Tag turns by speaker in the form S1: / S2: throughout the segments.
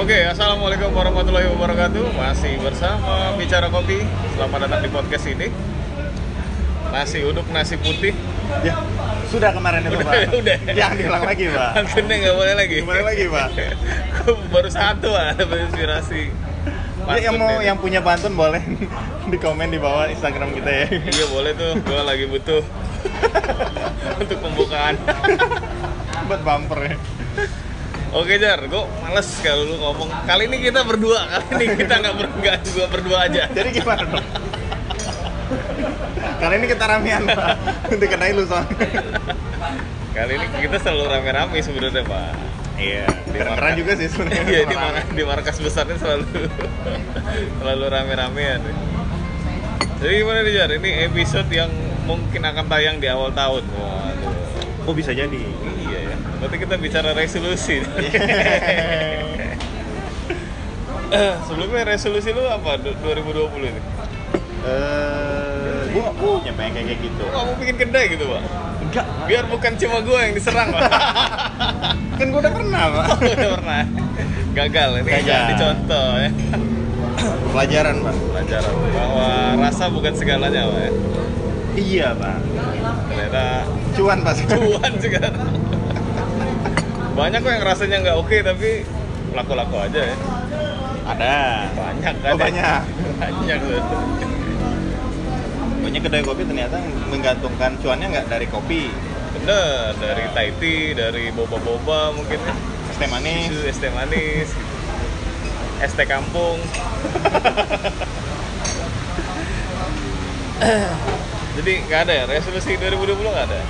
S1: Oke, assalamualaikum warahmatullahi wabarakatuh. Masih bersama bicara kopi. Selamat datang di podcast ini. Nasi uduk nasi putih.
S2: Ya, sudah kemarin itu
S1: Udah,
S2: Pak.
S1: udah.
S2: Jangan diulang lagi Pak.
S1: Akhirnya nggak boleh lagi.
S2: Kembali lagi Pak.
S1: Baru satu ah, dapat inspirasi.
S2: Jadi yang
S1: Pantun
S2: mau
S1: deh.
S2: yang punya pantun boleh di komen di bawah Instagram kita ya.
S1: Iya boleh tuh, gua lagi butuh untuk pembukaan.
S2: Buat bumper ya.
S1: Oke Jar, gua males kalau lu ngomong. Kali ini kita berdua, kali ini kita nggak berdua, gua berdua aja.
S2: Jadi gimana dong? Kali ini kita ramean Pak. Dikenain lu soalnya.
S1: Kali ini kita selalu rame-rame sebenarnya Pak. Iya. di
S2: Keren
S1: markas-
S2: juga sih sebenarnya.
S1: Iya di, mar- di markas besarnya selalu selalu rame-ramean. ya. Jadi gimana nih Jar? Ini episode yang mungkin akan tayang di awal tahun. Waduh.
S2: Oh bisa jadi.
S1: Iya ya. Berarti kita bicara resolusi.
S2: Iya.
S1: Eh, sebelumnya resolusi lu apa du- 2020 ini?
S2: Eh, gua nggak punya pengen kayak gitu.
S1: Lu mau bikin kedai gitu, Pak?
S2: Enggak.
S1: Biar bukan cuma gua yang diserang, Pak.
S2: Kan gua udah pernah Pak.
S1: Udah pernah. Gagal ini
S2: Gagal.
S1: jangan dicontoh ya.
S2: Pelajaran Pak.
S1: Pelajaran bahwa rasa bukan segalanya, Pak. Ya.
S2: Iya Pak.
S1: Ternyata
S2: Cuan Pak.
S1: cuan juga. Banyak kok yang rasanya nggak oke tapi laku-laku aja ya.
S2: Ada.
S1: Banyak kan.
S2: Oh
S1: ya?
S2: banyak.
S1: Banyak tuh.
S2: Banyak kedai kopi ternyata menggantungkan cuannya nggak dari kopi,
S1: Bener, dari Thai tea, dari boba-boba mungkin ya.
S2: es teh manis,
S1: Susu, es teh manis, gitu. es teh kampung. Jadi nggak ada ya resolusi 2020 nggak ada.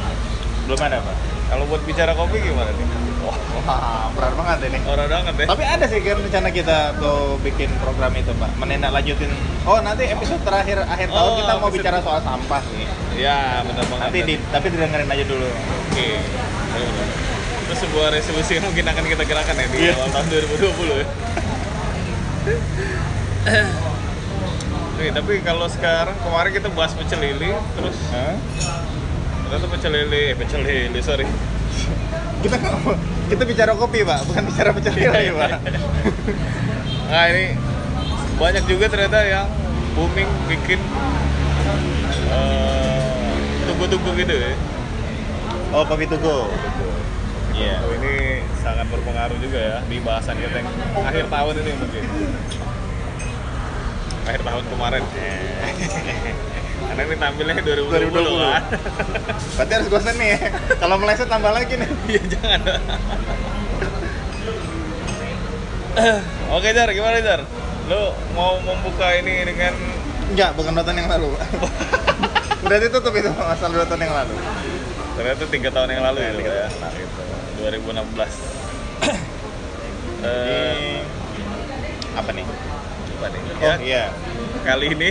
S2: belum ada pak.
S1: Kalau buat bicara kopi gimana nih? Wah,
S2: Wah berat banget ini.
S1: orang banget ya.
S2: Tapi ada sih kan rencana kita tuh bikin program itu pak, menindaklanjutin. Oh nanti episode terakhir akhir tahun
S1: Oh,
S2: kita mau
S1: episode-
S2: bicara soal sampah sih.
S1: Ya benar banget.
S2: Nanti di, tapi didengerin aja dulu.
S1: Oke. Bener-bener. Itu sebuah resolusi yang mungkin akan kita gerakan ya di
S2: Iya.
S1: awal tahun 2020 ya. Oke, tapi kalau sekarang kemarin kita bahas pecel lele, terus
S2: Hah?
S1: ternyata pecel lele, eh, pecel lele, sorry.
S2: Kita nggak mau- kita bicara kopi pak, bukan bicara pecel lele pak.
S1: Nah ini banyak juga ternyata yang booming bikin eh, tugu-tugu gitu ya.
S2: Oh kopi tugu. Iya.
S1: Ini sangat berpengaruh juga ya di bahasan kita yang akhir tahun ini mungkin. Akhir tahun kemarin. Karena ini tampilnya 2020,
S2: 2020.
S1: kan.
S2: Berarti harus gosen nih. ya. Kalau meleset tambah lagi nih.
S1: Iya jangan. Oke Jar, gimana Jar? Lo mau membuka ini dengan
S2: Enggak, bukan dua tahun yang lalu. Pak. Berarti tutup itu masalah dua tahun yang lalu.
S1: ternyata tiga tahun yang lalu ya,
S2: Iya,
S1: Lo,
S2: tiga
S1: ya?
S2: tahun.
S1: Nah, gitu. 2016.
S2: Jadi,
S1: Eh,
S2: apa nih?
S1: apa nih?
S2: Oh
S1: Ya,
S2: iya.
S1: kali ini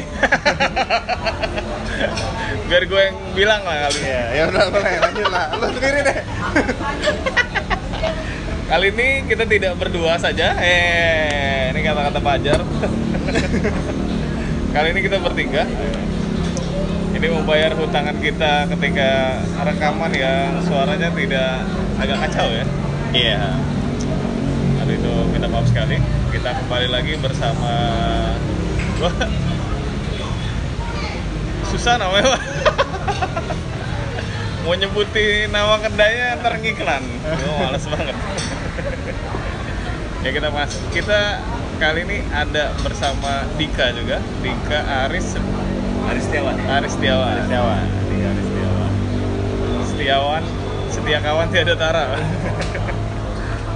S1: biar gue yang bilang lah kali ini.
S2: Iya, ya udah boleh lanjut lah. Lu sendiri deh.
S1: Kali ini kita tidak berdua saja. Eh, ini kata-kata Pajar. Kali ini kita bertiga. Ini membayar hutangan kita ketika rekaman yang suaranya tidak agak kacau ya.
S2: Iya.
S1: Aduh itu minta maaf sekali. Kita kembali lagi bersama Wah. Susah namanya. Pak. Mau nyebutin nama kedainya ntar ngiklan. Gue males banget. ya kita mas, kita kali ini ada bersama Dika juga, Dika Aris
S2: Aris Setiawan.
S1: Aris Setiawan.
S2: Aris Setiawan.
S1: Aris Setiawan. Setiawan, setia kawan tiada tara.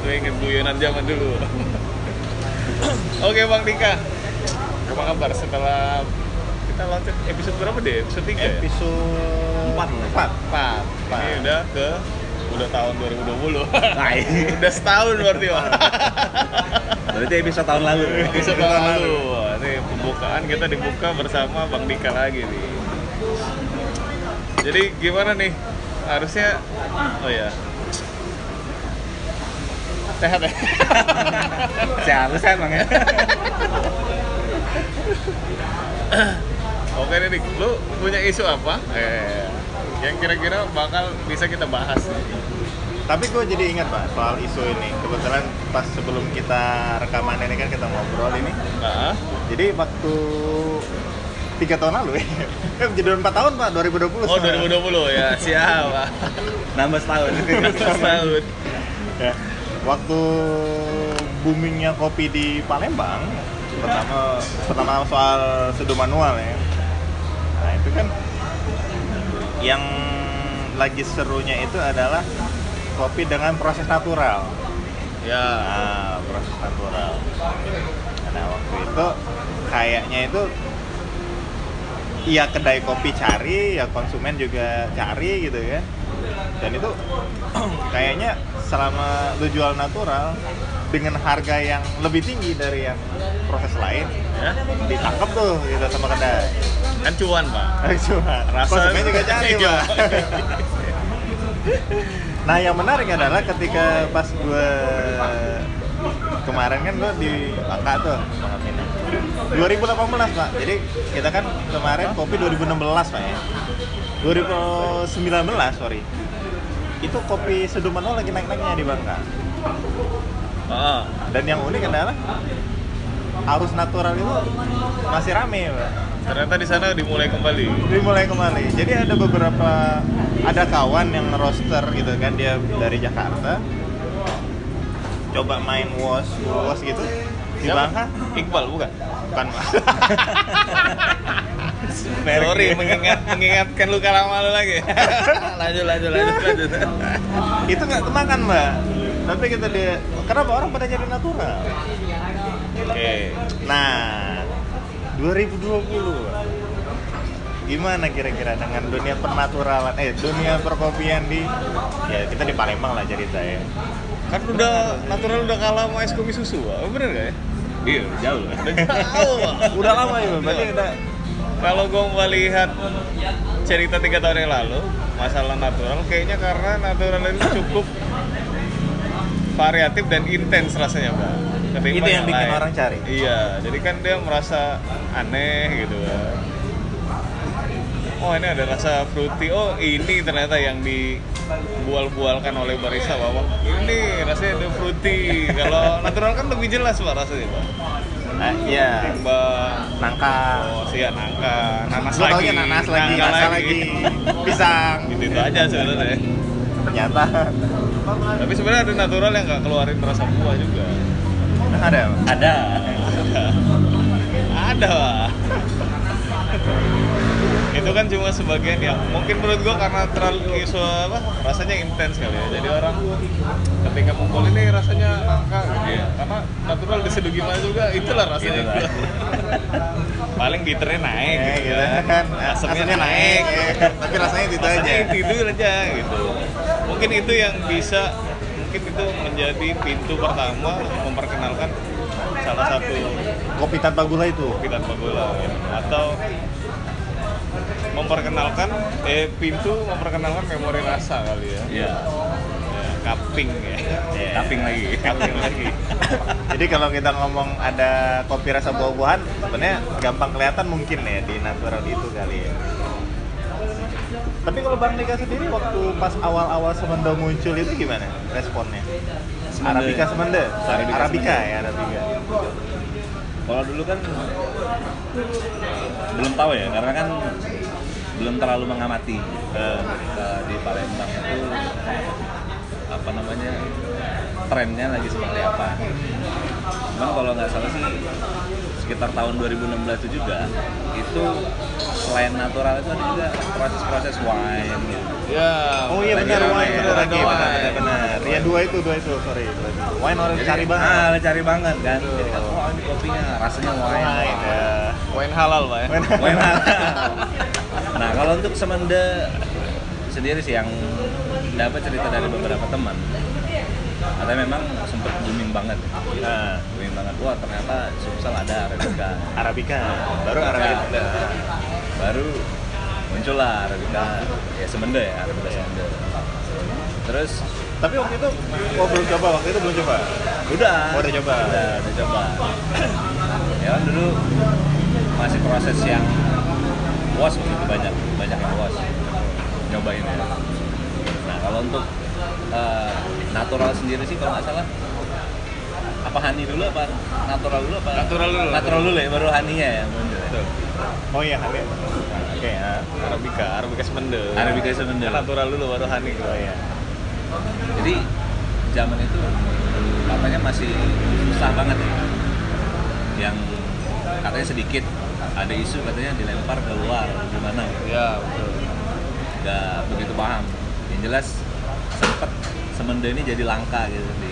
S1: Gue inget guyonan zaman dulu. Oke Bang Dika, apa kabar setelah kita lanjut episode berapa deh? Episode 3 ya?
S2: Episode 4 4.
S1: 4.
S2: Empat.
S1: Ini udah ke udah tahun 2020.
S3: Nah, ini
S1: udah setahun berarti, Bang.
S3: berarti episode tahun lalu.
S1: Episode lalu. Nih pembukaan kita dibuka bersama Bang Dika lagi nih. Jadi gimana nih? Harusnya oh ya. Sehat ya.
S3: Seharusnya emang ya.
S1: Oke nih, Dik. lu punya isu apa? Eh, yang kira-kira bakal bisa kita bahas. nih.
S2: Tapi gue jadi ingat pak soal isu ini. Kebetulan pas sebelum kita rekaman ini kan kita ngobrol ini.
S1: Nah,
S2: Jadi waktu tiga tahun lalu ya, eh, jadi empat tahun pak 2020.
S1: oh
S2: sekarang.
S1: 2020 ya siapa?
S3: Nambah setahun.
S1: Tahun.
S2: Ya. Waktu boomingnya kopi di Palembang, pertama pertama soal seduh manual ya. Nah itu kan yang lagi serunya itu adalah kopi dengan proses natural.
S1: Ya,
S2: Ah, proses natural. Nah, waktu itu kayaknya itu ya kedai kopi cari, ya konsumen juga cari gitu ya. Dan itu kayaknya selama lu jual natural dengan harga yang lebih tinggi dari yang proses lain
S1: ya.
S2: ditangkap tuh gitu sama kedai.
S1: kan cuan pak.
S2: Cuma
S1: Rasa-
S2: konsumen juga cari,
S1: Iya.
S2: Pak. Nah yang menarik adalah ketika pas gue kemarin kan gue di Bangka tuh ngalaminnya. 2018 pak, jadi kita kan kemarin kopi 2016 pak ya 2019 sorry itu kopi Sedumano lagi naik-naiknya di Bangka
S1: Ah,
S2: dan yang unik adalah arus natural itu masih rame pak
S1: ternyata di sana dimulai kembali.
S2: Jadi mulai kembali. Jadi ada beberapa ada kawan yang roster gitu kan dia dari Jakarta. Coba main wash, wash gitu di
S1: Siapa?
S2: Bangka
S1: Iqbal bukan?
S2: bukan Pak.
S1: Sorry mengingat, mengingatkan luka lama lu lagi. lanjut lanjut lanjut lanjut.
S2: itu nggak kemakan Mbak. Tapi kita dia kenapa orang pada jadi natural?
S1: Oke.
S2: Nah, 2020 gimana kira-kira dengan dunia pernaturalan eh dunia perkopian di ya kita di Palembang lah cerita ya
S1: Kan udah natural udah kalah sama es kopi susu, Pak. bener gak ya?
S3: Iya, jauh lah.
S1: Udah jauh, Iya. Pak.
S2: udah lama ya berarti kita
S1: Kalau gue melihat cerita tiga tahun yang lalu masalah natural, kayaknya karena natural itu cukup variatif dan intens rasanya pak. Ketimbang
S2: Itu yang bikin
S1: lain.
S2: orang cari?
S1: Iya, jadi kan dia merasa aneh gitu. Pak. Oh ini ada rasa fruity. Oh ini ternyata yang dibual-bualkan oleh barista bahwa ini rasanya ada fruity. Kalau natural kan lebih jelas pak rasanya pak.
S2: Ah, iya
S1: Timbang
S2: nangka
S1: Oh, sih ya nangka, nanas
S2: Gua
S1: lagi,
S2: taunya nanas lagi
S1: nangka
S2: nangka lagi pisang
S1: Gitu itu aja sebenarnya.
S2: ternyata
S1: Tapi sebenarnya ada natural yang nggak keluarin rasa buah juga.
S2: ada Pak.
S3: Ada.
S1: Ada. Pak. itu kan cuma sebagian yang mungkin menurut gua karena terlalu so, apa rasanya intens kali ya. Jadi orang ketika kumpul ini rasanya nangka gitu ya. Karena natural diseduh gimana juga itulah rasanya.
S3: Gitu lah.
S1: Paling bitternya naik
S2: Eh,
S1: gitu
S2: gitu
S1: kan.
S2: kan asamnya naik ya. tapi rasanya itu
S1: rasanya
S2: aja
S1: itu itu aja gitu mungkin itu yang bisa mungkin itu menjadi pintu pertama memperkenalkan salah satu
S2: kopi tanpa gula itu
S1: kopi tanpa gula gitu. atau memperkenalkan eh pintu memperkenalkan memori rasa kali ya,
S3: Iya.
S1: Ya, cupping ya
S2: Iya.
S3: Tapping lagi.
S1: cupping lagi
S2: jadi kalau kita ngomong ada kopi rasa buah-buahan sebenarnya gampang kelihatan mungkin ya di natural itu kali ya tapi kalau Bang Dika sendiri waktu pas awal-awal Semende muncul itu gimana responnya?
S3: Semende.
S2: Arabica Semende? Sorry,
S3: Arabica
S2: Arabica
S3: Semende.
S2: ya Arabica
S3: Kalau dulu kan belum tahu ya, karena kan belum terlalu mengamati Eh, eh, di Palembang itu apa namanya trennya lagi seperti apa. Cuman kalau nggak salah sih sekitar tahun 2016 itu juga itu selain natural itu ada juga proses-proses wine gitu.
S1: ya
S2: Oh iya
S3: Lagi ya.
S2: benar,
S3: rame,
S2: wine benar
S3: lagi
S2: lagi benar
S1: wine.
S2: benar, benar. Ya dua itu, dua itu, sorry. dua itu. Wine orang
S3: Jadi,
S2: cari banget.
S3: Ah, cari banget kan. Jadi kan, oh ini kopinya rasanya wine.
S2: Wine, ya.
S1: wine halal pak ya
S2: Wine.
S3: Wine halal. nah kalau untuk semende sendiri sih yang dapat cerita dari beberapa teman ada memang sempat booming banget
S2: Nah,
S3: booming banget wah ternyata Sumsel ada Arabica
S2: Arabica, baru Arabica.
S3: Nah, baru muncullah Arabica ya semende ya Arabica semende terus
S2: Tapi waktu itu, oh belum coba, waktu itu belum coba.
S3: udah
S2: Oh, udah coba.
S3: udah, udah coba ya kan dulu masih proses yang wash begitu banyak banyak yang wash nyobain ya. nah kalau untuk eh, natural sendiri sih kalau nggak salah apa hani dulu apa natural dulu apa
S1: Natural dulu.
S3: natural dulu ya baru haninya ya muncul ya.
S2: Oh iya, Hani. Oke, ya.
S1: Arabica, Arabica semendel.
S3: Arabica semendel.
S1: Kan natural dulu baru honey. ya.
S2: Oh iya.
S3: jadi zaman itu katanya masih susah banget ya yang katanya sedikit ada isu katanya dilempar keluar gimana ya?
S1: Iya, betul.
S3: nggak begitu paham yang jelas sempet semende ini jadi langka gitu di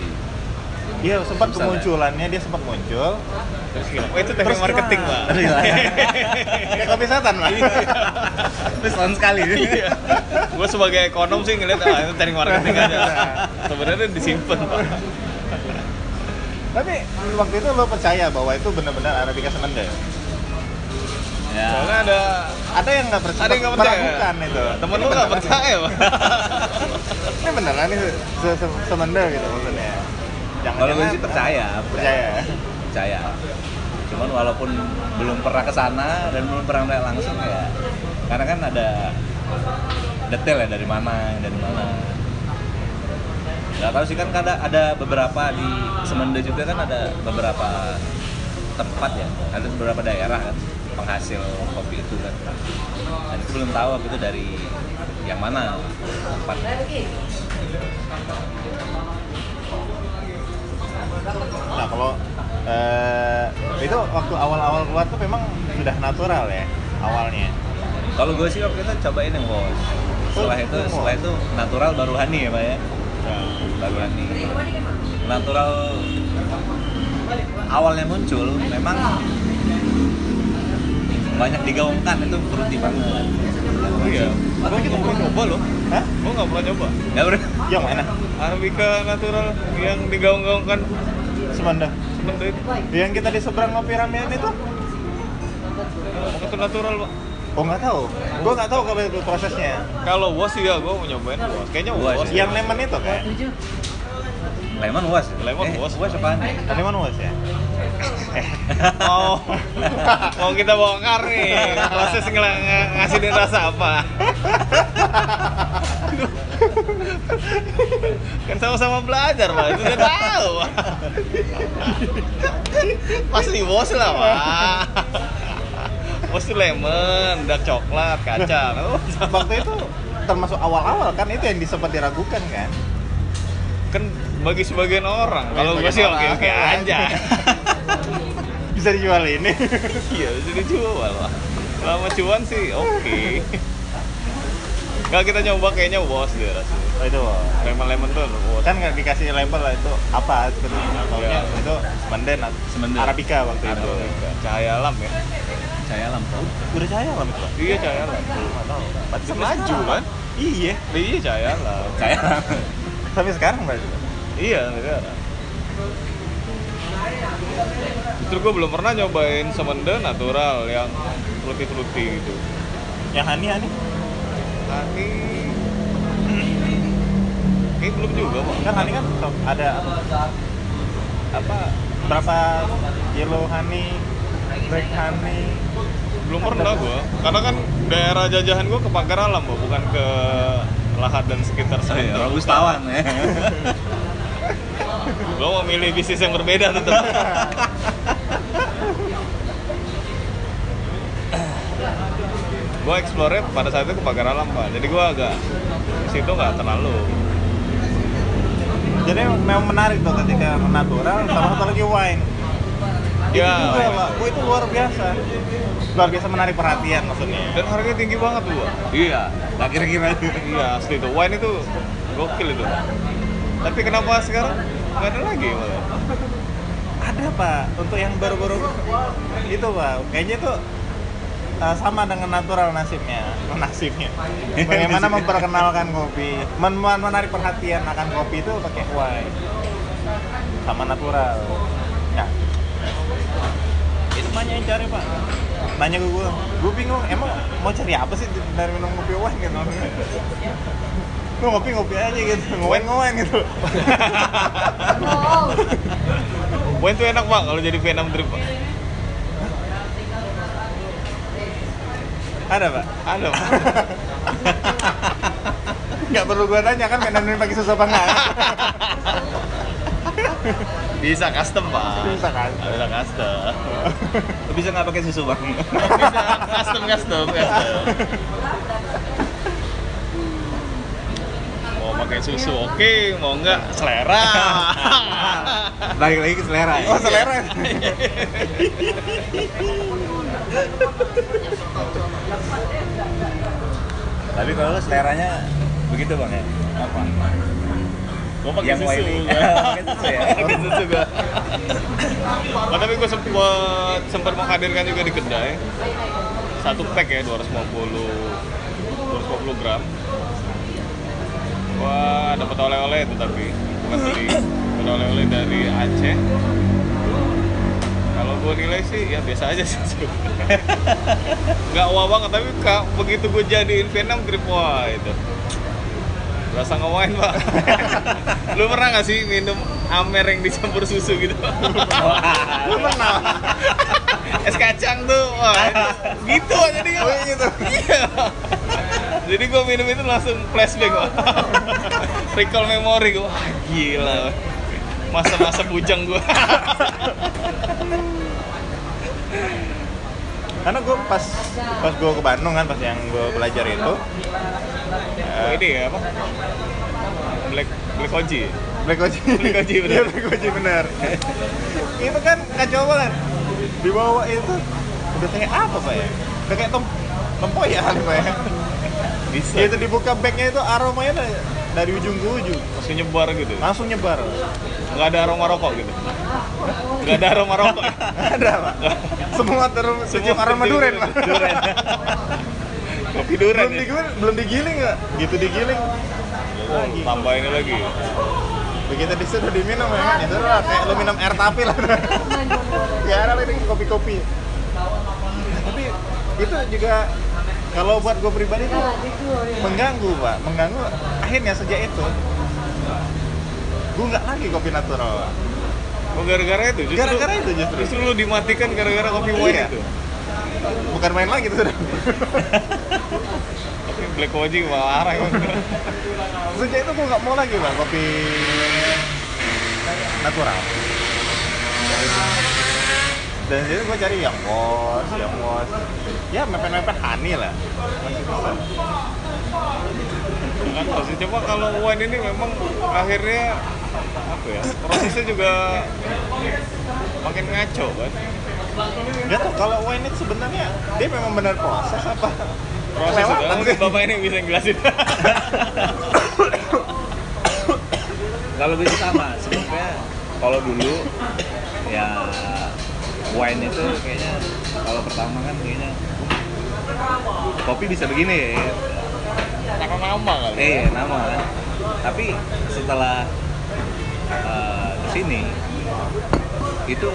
S2: Iya, sempat
S1: ya?
S3: Susah,
S2: kemunculannya dia sempat muncul.
S1: Terus hilang. Oh, itu teknik
S2: Terus
S1: marketing, Pak.
S2: hilang.
S3: Terus hilang.
S2: Kayak kopi setan lah.
S3: terus tahun sekali
S1: Iya. Gua sebagai ekonom sih ngeliat ah itu teknik marketing aja. Sebenarnya disimpan, Pak.
S2: Iya. Tapi waktu itu lo percaya bahwa itu benar-benar Arabica semenda.
S3: ya
S1: Soalnya ada
S2: Ada yang nggak percaya?
S1: ada yang nggak percaya.
S2: meragukan itu.
S1: Temen
S2: Ini
S1: lu nggak
S2: beneran.
S1: percaya, Pak.
S2: Ini beneran nih se se- semenda gitu maksudnya. Jangan
S3: kalau gue sih percaya
S2: Percaya.
S3: percaya cuman walaupun belum pernah ke sana dan belum pernah melihat langsung ya karena kan ada detail ya dari mana dari mana nggak tahu sih kan ada ada beberapa di Semende juga kan ada beberapa tempat ya ada beberapa daerah kan penghasil kopi itu kan dan itu belum tahu waktu itu dari yang mana tempat
S2: Nah kalau eh, itu waktu awal-awal keluar tuh memang sudah natural ya awalnya.
S3: kalau gue sih waktu itu cobain yang bos setelah itu setelah itu natural baru hani ya pak ya baruan nih natural awalnya muncul memang banyak digaungkan itu fruity banget
S1: Iya. Gua nggak pernah nyoba loh.
S2: Hah? Iya,
S1: Gua nggak pernah nyoba.
S3: ya bro
S2: Yang mana?
S1: Arabica natural yang digaung-gaungkan
S2: Semenda.
S1: semendel itu.
S2: Yang kita di seberang ngopi ramean itu?
S1: Bukan itu natural, Pak.
S2: Oh nggak tahu. Gue nggak tahu kalau itu prosesnya.
S1: Kalau was sih ya, gua mau nyobain was. Kayaknya
S3: Was,
S1: was.
S2: Yang lemon itu kan?
S3: lemon was
S1: Lemon was.
S3: was apaan ya?
S2: Lemon was ya?
S1: mau mau kita bongkar nih proses ngel- ng- ngasihin rasa apa kan sama-sama belajar pak itu udah tahu pak pasti bos lah pak bos tuh lemon dark coklat kacang
S2: Waktu itu termasuk awal-awal kan itu yang di- sempat diragukan kan?
S1: kan bagi sebagian orang kalau gue
S2: Bagi
S1: sih oke
S2: orang.
S1: oke aja
S2: Bisa dijual ini.
S1: Iya bisa dijual lah. Lama cuan sih oke. Kalau kita nyoba kayaknya was deh rasanya.
S2: oh, itu
S1: Lemon lemon tuh was.
S2: kan nggak dikasih label lah itu apa sebenarnya taunya
S1: Iya.
S2: itu semenden
S3: Semenden.
S2: Arabica waktu itu
S1: Arabica. Cahaya alam ya.
S3: saya lampu
S2: udah cahaya lah itu
S1: Iya cahaya alam.
S2: nggak tahu
S1: Bisa
S2: Pantesan
S1: maju kan?
S2: iya
S1: Iya cahaya alam.
S3: saya
S2: tapi sekarang maju
S1: Iya negara. Justru gue belum pernah nyobain semende natural yang fruity fruity gitu.
S2: yang hani hani
S1: Tapi kayak belum juga pak.
S2: kan hani kan so- ada apa berapa yellow honey black honey
S1: Belum pernah gua, karena kan daerah jajahan gua ke Pagar Alam, Bo, bukan ke Lahat dan sekitar
S2: Oh, iya.
S3: saya
S1: sana.
S3: robustawan ya
S1: Gua memilih bisnis yang berbeda tetap. gua explore pada saat itu ke Pagar Alam, Pak. Jadi gua agak di situ nggak terlalu.
S2: jadi memang menarik tuh ketika natural sama satu lagi wine itu
S1: Ya.
S2: juga pak Wah, itu luar biasa luar biasa menarik perhatian maksudnya
S1: Dan harganya tinggi banget tuh, Pak.
S3: iya nggak kira-kira
S1: Iya, asli tuh. Wine itu gokil itu. Tapi kenapa sekarang nggak ada lagi, malah?
S2: ada pak untuk yang baru-baru itu pak kayaknya itu uh, sama dengan natural nasibnya nasibnya bagaimana memperkenalkan kopi men men- menarik perhatian akan kopi itu pakai wine sama natural ya itu banyak yang cari pak nanya ke gue gue bingung emang mau cari apa sih dari minum kopi wine gitu gue ngopi ngopi aja gitu ngowen ngowen gitu
S1: Wine tuh enak, Pak, kalau jadi Vietnam drip, Pak.
S2: ada pak
S1: Ada, Pak.
S2: Nggak perlu gua tanya kan mainan ini pakai susu apa nggak?
S3: Bisa custom pak.
S2: Bisa kan?
S3: Bisa custom. Bisa nggak pakai susu bang?
S1: Bisa custom custom custom. Mau pakai susu oke, mau nggak selera.
S3: Balik lagi ke selera. ya?
S2: Oh selera.
S3: Tapi kalau lu seleranya begitu bang ya? Apa?
S1: Gua pakai susu.
S3: whiny.
S1: gua.
S3: pakai susu ya.
S1: Pakai susu gua. Oh, tapi gua sempat sempat menghadirkan juga di kedai. Satu pack ya 250 250 gram. Wah, dapat oleh-oleh itu tapi bukan beli. Dapat oleh-oleh dari Aceh. Kalau gua nilai sih ya biasa aja sih. sebenarnya. Nggak wah banget tapi ka- begitu gua jadiin Vietnam grip wah itu. Berasa ngewain pak Lu pernah nggak sih minum amer yang dicampur susu gitu?
S2: Lu pernah?
S1: Es kacang tuh, wah itu gitu aja dia
S2: Oh, iya gitu.
S1: Iya Jadi gua minum itu langsung flashback wah Recall memory gua, wah gila wah. Masa-masa bujang gua
S2: Karena gua pas pas gua ke Bandung kan pas yang gua belajar itu.
S1: Oh,
S2: eh,
S1: Ini ya apa? Black, Black Hoji
S2: Black Oji.
S1: Black Oji, bener.
S2: Iya, Black Oji bener. itu kan kacau banget. Di bawah itu udah kayak apa pak ya? Udah kayak tem tempoyak pak ya.
S1: Bisa
S2: Itu dibuka bagnya itu aromanya dari, dari ujung ke ujung
S1: Langsung nyebar gitu
S2: langsung nyebar.
S1: Nggak ada aroma rokok gitu Nggak ada aroma rokok
S2: Ada pak. Semua terus sejuk aroma durian pak.
S1: Duren. Kopi duren.
S2: belum
S1: ya?
S2: digiling, belum digiling nggak? Gitu digiling. Lagi.
S1: Tambah ini Oh, lagi.
S2: Begitu disitu diminum ya, itu lah kayak lu minum air tapi lah. Gak ada lagi kopi-kopi. Tapi itu juga kalau buat gue pribadi tuh mengganggu pak, mengganggu. Akhirnya sejak itu gue nggak lagi kopi natural. Pak.
S1: Oh gara-gara itu justru.
S2: Gara-gara itu justru.
S1: Justru lu dimatikan gara-gara kopi wine
S2: Iya.
S1: itu.
S2: Bukan main lagi tuh. sudah.
S1: Kopi black koji marah emang.
S2: Sejak itu gue nggak mau lagi pak kopi natural. Dan jadi gue cari yang wos, yang wos, ya mepet-mepet honey lah. Masih bisa.
S1: Kan sih coba kalau wine ini memang akhirnya apa ya? Prosesnya juga makin ngaco kan.
S2: Gak tau kalau wine itu sebenarnya dia memang benar proses apa?
S1: Proses
S2: Kelewatan
S1: udah mungkin
S2: sih.
S1: bapak ini bisa ngelasin.
S3: Kalau gue sih sama, sebenarnya kalau dulu ya wine itu kayaknya kalau pertama kan kayaknya kopi bisa begini ya.
S1: Karena nama kali. ya.
S3: Eh, nama kan. Tapi setelah eh, kesini itu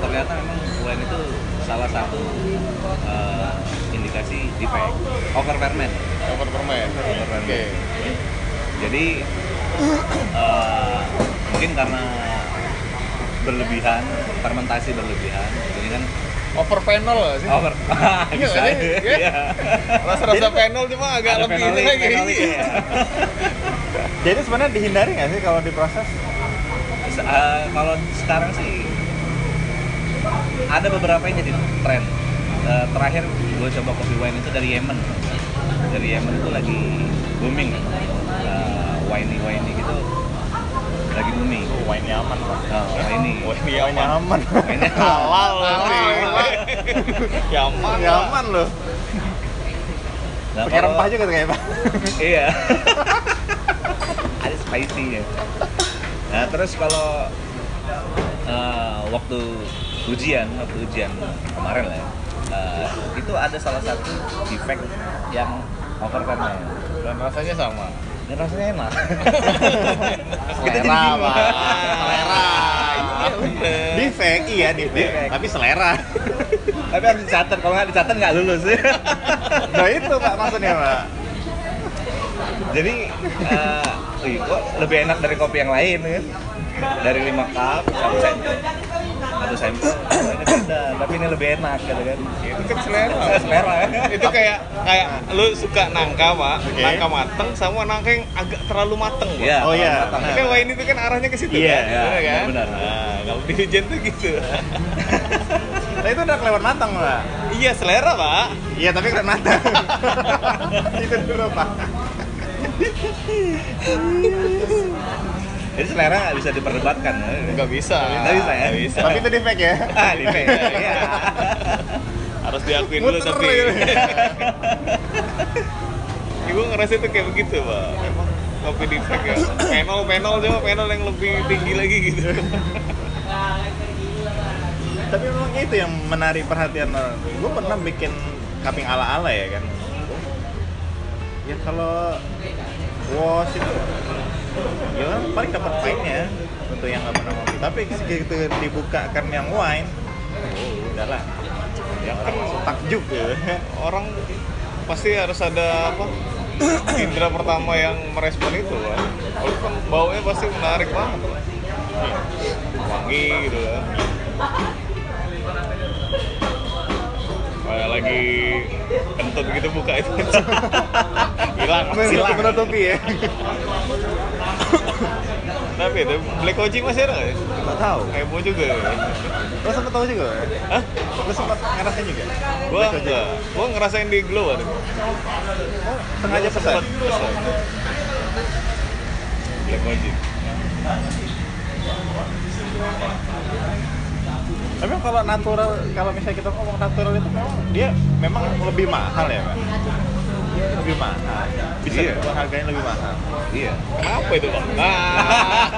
S3: ternyata memang wine itu salah satu eh, indikasi E defect over ferment.
S1: Over permen. Oke.
S3: Jadi eh, mungkin karena berlebihan, fermentasi berlebihan, jadi kan
S1: Over penol nggak sih?
S3: over.
S1: Iya
S3: bisa
S1: nggak sih?
S3: aja,
S1: Iya.
S3: iya.
S1: Rasa-rasa penol cuma agak
S3: Ada
S1: lebih
S3: fenolik,
S1: lagi.
S3: fenolik, iya.
S2: Jadi sebenarnya dihindari nggak sih kalau diproses?
S3: Se- eh, Kalau sekarang sih ada beberapa yang jadi tren. Eh, terakhir gue coba kopi wine itu dari Yemen. Dari Yemen itu lagi booming. Eh, winey winey gitu lagi booming.
S2: Wine nyaman pak.
S3: Nah, winey.
S1: Wah, ini
S2: Wine
S1: aman.
S2: nyaman.
S3: Ini
S2: halal
S1: Halal. Yaman.
S2: Nyaman loh.
S3: Nah,
S2: Pakai
S3: kalau-
S2: rempah juga tuh kayak pak.
S3: Iya. Ada spicy-nya. Nah, terus kalau eh, waktu ujian, waktu ujian kemarin lah ya, eh, itu ada salah satu defect yang over ferment.
S1: Dan rasanya sama.
S3: Dan rasanya enak. Kita jadi
S2: Selera
S3: bingung.
S2: pak. Selera.
S1: Iya, bener.
S3: Eh.
S2: Defect iya
S3: Defect.
S2: defect. Tapi selera.
S3: Tapi harus dicatat, kalau nggak dicatat nggak lulus.
S2: Nah itu pak maksudnya pak.
S3: Jadi, eh, wih, kok lebih enak dari kopi yang lain ya? Dari 5 cup, satu sendok. Ada satu sampel ini beda tapi ini lebih enak gitu kan
S1: itu kan selera Mas.
S3: selera ya?
S1: itu kayak kayak lu suka nangka pak
S2: Oke.
S1: nangka mateng sama nangka yang agak terlalu mateng pak
S3: Iya,
S2: Oh, iya.
S3: matang.
S1: Tapi wine itu kan arahnya ke situ
S2: Iya,
S1: kan?
S3: iya,
S1: Bener kan?
S3: benar.
S1: Nah, kalau di hujan tuh gitu.
S2: Nah, itu udah kelewat matang lah.
S1: iya, selera, Pak.
S2: Iya tapi keren matang. itu dulu pak.
S3: jadi selera nggak bisa diperdebatkan ya.
S1: Enggak bisa.
S3: Nggak bisa ya?
S1: Nggak bisa.
S2: Tapi itu di fake ya.
S3: ah di fair ya
S1: Harus diakuin dulu
S2: Muter
S1: tapi.
S2: gitu.
S1: Ibu ngerasa itu kayak begitu, Pak. Emang kopi di pack ya. Penol, penol cuma penol yang lebih tinggi lagi gitu.
S2: tapi memang itu yang menarik perhatian orang. Gue pernah bikin kaping ala ala ya kan. Ya kalau wash itu ya kan paling dapat poinnya untuk yang nggak pernah ngopi. Tapi segitu dibuka kan yang wine, oh, udah lah. Yang orang langsung takjub gitu.
S1: Orang pasti harus ada apa? Indra pertama yang merespon itu, Pak. Kalau kan baunya pasti menarik banget, Pak. Wangi gitu kan. Kayak lagi kentut gitu buka itu. Hilang,
S2: Silang.
S1: hilang.
S2: Menutupi ya.
S1: Tapi itu Black Koji masih ada nggak ya?
S2: Gak tahu.
S1: Heboh juga ya.
S2: Lo sempet tahu juga? ya?
S1: Hah?
S2: Lo sempet ngerasain juga?
S1: Gua
S2: Baik aja.
S1: enggak. Gua ngerasain di Glow ada.
S2: Oh, sengaja pesan.
S1: Sempet pesan. Black Koji.
S2: Tapi kalau natural, kalau misalnya kita ngomong natural itu memang dia memang lebih mahal ya, Pak. Lebih mahal. Bisa
S3: Iya.
S2: dijual harganya lebih mahal.
S3: iya
S1: Kenapa itu bang? Ah.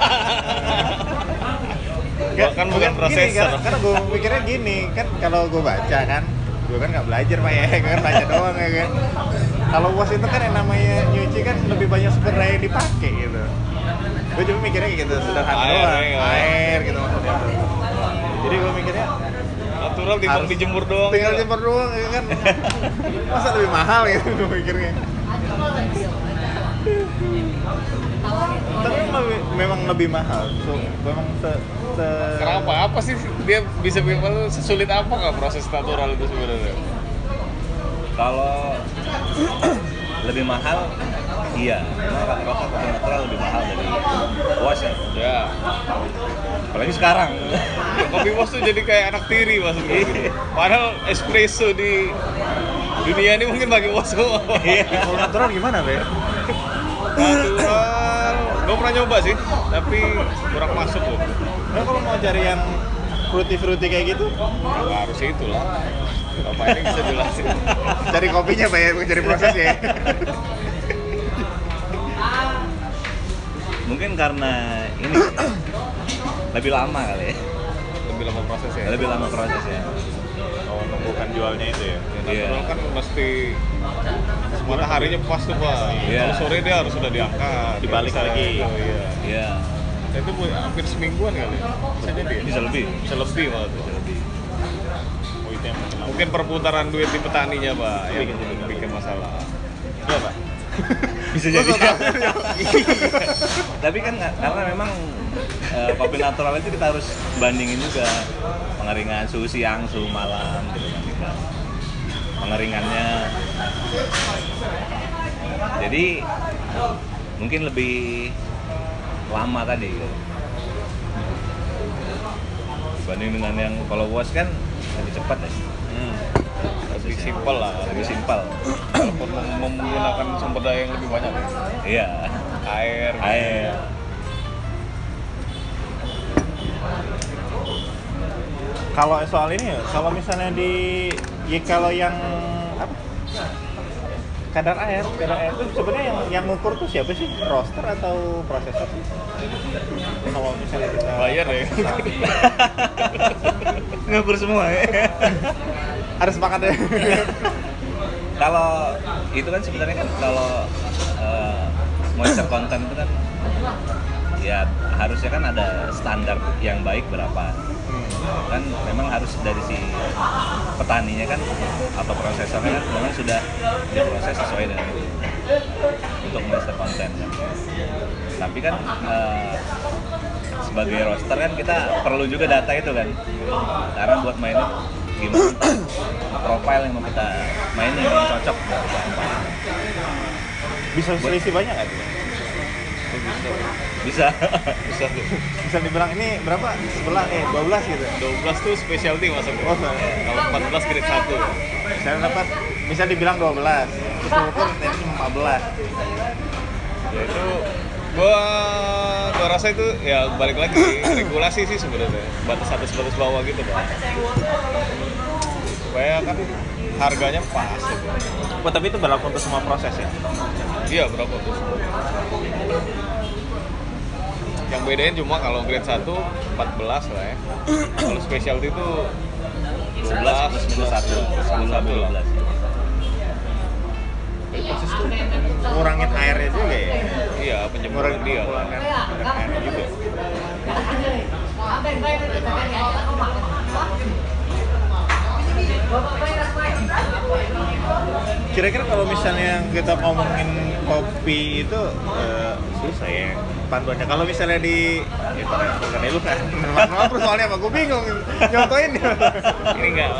S1: Bahkan bukan
S2: Gini,
S1: prosesor.
S2: karena, karena gue mikirnya gini, kan kalau gue baca kan, gue kan nggak belajar pak ya, gue kan baca doang ya kan. Kalau was itu kan yang namanya nyuci kan lebih banyak sumber daya yang dipakai gitu. Gue cuma mikirnya kayak gitu sederhana
S1: Air,
S2: doang,
S1: air,
S2: air, gitu maksudnya. Jadi gue mikirnya
S1: Natural timbang
S2: Harus-
S1: dijemur doang.
S2: tinggal
S1: gitu.
S2: jemur doang ya kan. Masa lebih mahal gitu gue mikirnya. Tapi memang lebih- memang lebih mahal. So, memang se, se-
S1: Kenapa? Apa sih dia bisa bikin malu? Sesulit apa nggak proses natural itu sebenarnya?
S3: kalau lebih mahal iya karena kan rokok kopi natural lebih mahal dari wash ya
S1: Ya.
S3: apalagi sekarang
S1: Kopi bos tuh jadi kayak anak tiri maksudnya.
S2: Iya.
S1: gitu. Padahal espresso di dunia ini mungkin pakai bos semua.
S2: Iya, Kalau natural gimana, Be?
S1: Natural. Gue pernah nyoba sih, tapi kurang masuk loh.
S2: Lo kalau mau cari yang fruity-fruity kayak gitu,
S1: Nggak harus itu lah. Bapak ini bisa jelasin.
S2: cari kopinya, Pak ya, bukan cari prosesnya.
S3: mungkin karena ini lebih lama kali ya
S1: Lebih lama prosesnya.
S3: lebih lama prosesnya
S2: Oh, bukan jualnya itu ya?
S1: Iya.
S3: Iya.
S1: kan mesti mataharinya pas tuh pak.
S3: Iya.
S1: Kalau sore dia harus sudah diangkat.
S2: Dibalik
S1: Bisa,
S2: lagi.
S1: gitu, iya.
S3: iya
S1: Dan Itu bu- hampir semingguan kali. Bisa jadi. ya?
S3: bisa lebih
S1: Bisa lebih malah tuh.
S3: bisa lebih
S2: Oh, itu yang terkenal.
S1: Mungkin perputaran duit di petaninya pak yang
S2: Bikin jadi.
S1: bikin masalah.
S2: Iya, Pak.
S3: bisa jadi tapi kan nggak- karena memang eh, kopi natural itu kita harus bandingin juga pengeringan suhu siang suhu malam gitu kan kita. pengeringannya jadi mungkin lebih lama tadi gitu. dibanding dengan yang kalau wash kan lebih cepat ya
S1: Hmm. Lebih simpel lah.
S3: lebih simpel
S1: Walaupun mem- menggunakan sumber daya yang lebih banyak. ya.
S3: iya
S1: Air.
S3: air
S2: Kalau soal ini, ya, kalau misalnya di... Ya, kalau yang... apa? kadar air, kadar air itu sebenarnya yang yang ngukur tuh siapa sih? Roaster atau prosesor sih? Kalau misalnya kita
S1: Bayar ya.
S3: ngukur semua ya
S2: harus makan deh.
S3: kalau itu kan sebenarnya kan kalau eh, moisture content itu kan ya harusnya kan ada standar yang baik berapa kan memang harus dari si petaninya kan atau prosesornya kan memang sudah diproses sesuai dengan itu untuk master content kan. Tapi kan eh, sebagai roster kan kita perlu juga data itu kan karena buat mainin gimana profile yang mau kita mainin yang cocok buat apa
S2: Bisa selisih banyak nggak tuh?
S3: bisa
S1: Bisa tuh.
S2: Bisa dibilang ini berapa? Sebelah eh 12 gitu.
S1: 12 tuh specialty masuknya.
S2: Oh, sorry.
S1: Kalau 14 grade 1.
S2: Saya dapat bisa dibilang 12. Walaupun tadi cuma 14.
S1: Ya itu gua gua rasa itu ya balik lagi regulasi sih sebenarnya. Batas atas batas bawah gitu, Pak. Supaya kan harganya pas gitu.
S2: Oh, tapi itu berlaku untuk semua proses ya.
S1: Iya, berapa tuh? Yang bedain cuma kalau grade 1 14 lah ya. Kalau specialty itu
S3: 11 plus minus 1
S1: 11
S3: 11
S1: lah.
S3: 12
S2: Ngurangin airnya juga ya.
S1: Iya, penyembuhan
S2: Ngurangin
S1: dia.
S2: kumpulan air- airnya juga. Kira-kira kalau misalnya kita ngomongin kopi itu eh, susah ya panduannya. Kalau misalnya di itu kan bukan elu kan. Maaf terus soalnya apa? Gue bingung nyontoin.
S1: Ini enggak.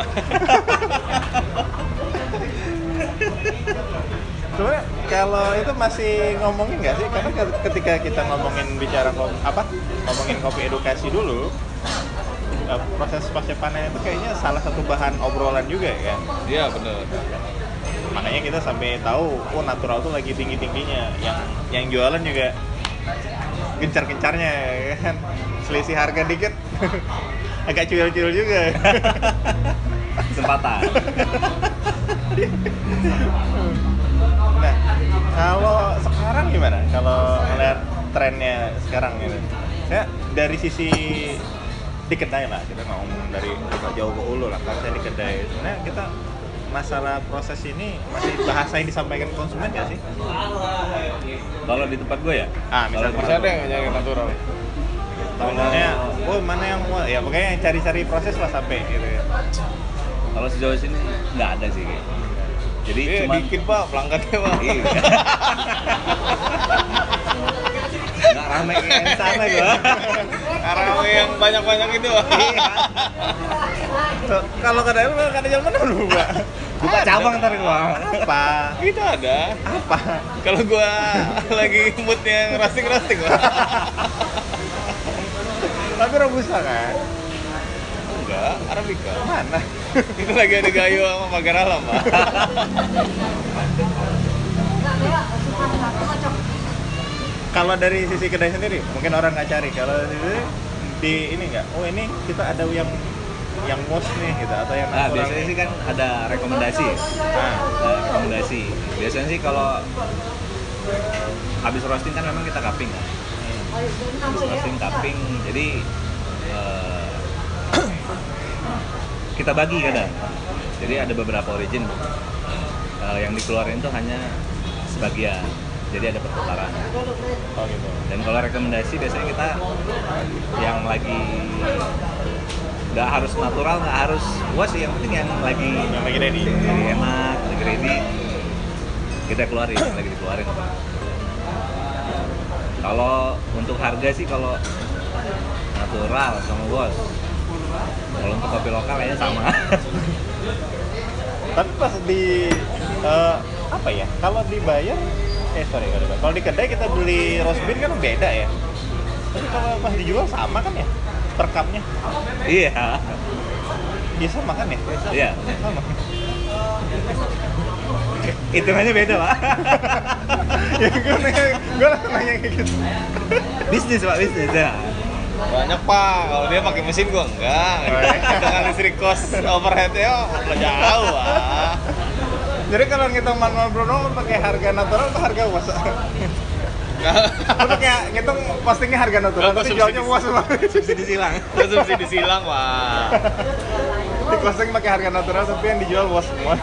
S2: Sebenarnya kalau itu masih ngomongin nggak sih? Karena ke- ketika kita ngomongin bicara kom- apa? Ngomongin kopi edukasi dulu eh, proses pasca panen itu kayaknya salah satu bahan obrolan juga ya.
S1: Iya, bener.
S2: makanya kita sampai tahu oh natural tuh lagi tinggi tingginya yang yang jualan juga gencar gencarnya ya kan selisih harga dikit agak cuil cuil juga
S3: kesempatan
S2: nah kalau sekarang gimana kalau ngeliat trennya sekarang gitu ya dari sisi di kedai lah kita nggak ngomong dari agak jauh ke ulu lah kalau saya di kedai sebenarnya kita masalah proses ini masih bahasa yang disampaikan ke konsumen nggak sih
S3: kalau di tempat gue ya
S2: Ah, misalnya
S3: Kalau di
S1: Bisa
S3: tempat
S1: ada yang nyari natural.
S2: Tawarannya, oh mana yang mau ya pokoknya yang cari-cari proses lah sampai gitu ya.
S3: Kalau sejauh sini nggak ada sih kayak. Jadi
S1: Iya,
S3: cuma
S1: dikit, Pak, pelanggannya, Pak.
S3: Iya. nggak rame
S2: Yang
S3: kayak
S2: sana gua.
S1: Karawe yang banyak-banyak itu.
S2: Tuh, Kalau kada lu kada jalan mana lu, Pak?
S3: Buka
S2: Ada.
S3: cabang ntar gua.
S2: Apa?
S1: Itu ada.
S2: Apa?
S1: Kalau gua lagi moodnya yang rasting-rasting lah.
S2: Tapi robusta kan?
S1: Enggak, Arabica.
S2: Mana?
S1: Itu lagi ada Gayo sama pagar alam, Pak.
S2: Kalau dari sisi kedai sendiri, mungkin orang nggak cari. Kalau dari sisi di ini nggak? Oh ini kita ada yang yang most nih gitu atau yang
S3: Nah,
S2: natural
S3: biasanya
S2: nih.
S3: sih kan ada rekomendasi. ya.
S2: Nah,
S3: Ada rekomendasi. Biasanya sih kalau habis roasting kan memang kita cupping. kan. Habis roasting cupping. Jadi eh, kita bagi kadang. Jadi ada beberapa origin eh, yang dikeluarin itu hanya sebagian. Jadi ada perputaran.
S2: oh gitu.
S3: Dan kalau rekomendasi biasanya kita yang lagi nggak harus natural, nggak harus wah sih yang penting yang lagi
S2: Yang lagi ready.
S3: lagi enak, lagi ready kita keluarin, yang lagi dikeluarin. Kalau untuk harga sih kalau natural sama bos. Kalau untuk kopi lokal kayaknya sama.
S2: Tapi pas di eh, apa ya? Kalau dibayar eh sorry nggak dibayar. Kalau di kedai kita beli roast bean kan beda ya. Tapi kalau pas dijual sama kan ya? Per cupnya
S3: iya.
S2: dia sama kan ya?
S3: Iya.
S2: Sama.
S3: Hitungannya beda, Pak.
S2: ya gue nanya, gue langsung nanya kayak gitu.
S3: bisnis, Pak, bisnis. Ya.
S1: Banyak, Pak. Kalau dia pakai mesin gua enggak. Dengan listrik cost overhead-nya udah jauh, Pak.
S2: Jadi kalau ngitung manual Bruno pakai harga natural atau harga was? Lu pakai ngitung postingnya harga natural,
S1: Nggak,
S2: tapi
S1: gua
S2: jualnya was Pak.
S3: Subsidi silang.
S1: Konsumsi disilang, Pak.
S2: Di posting pakai harga natural, tapi yang dijual was semua.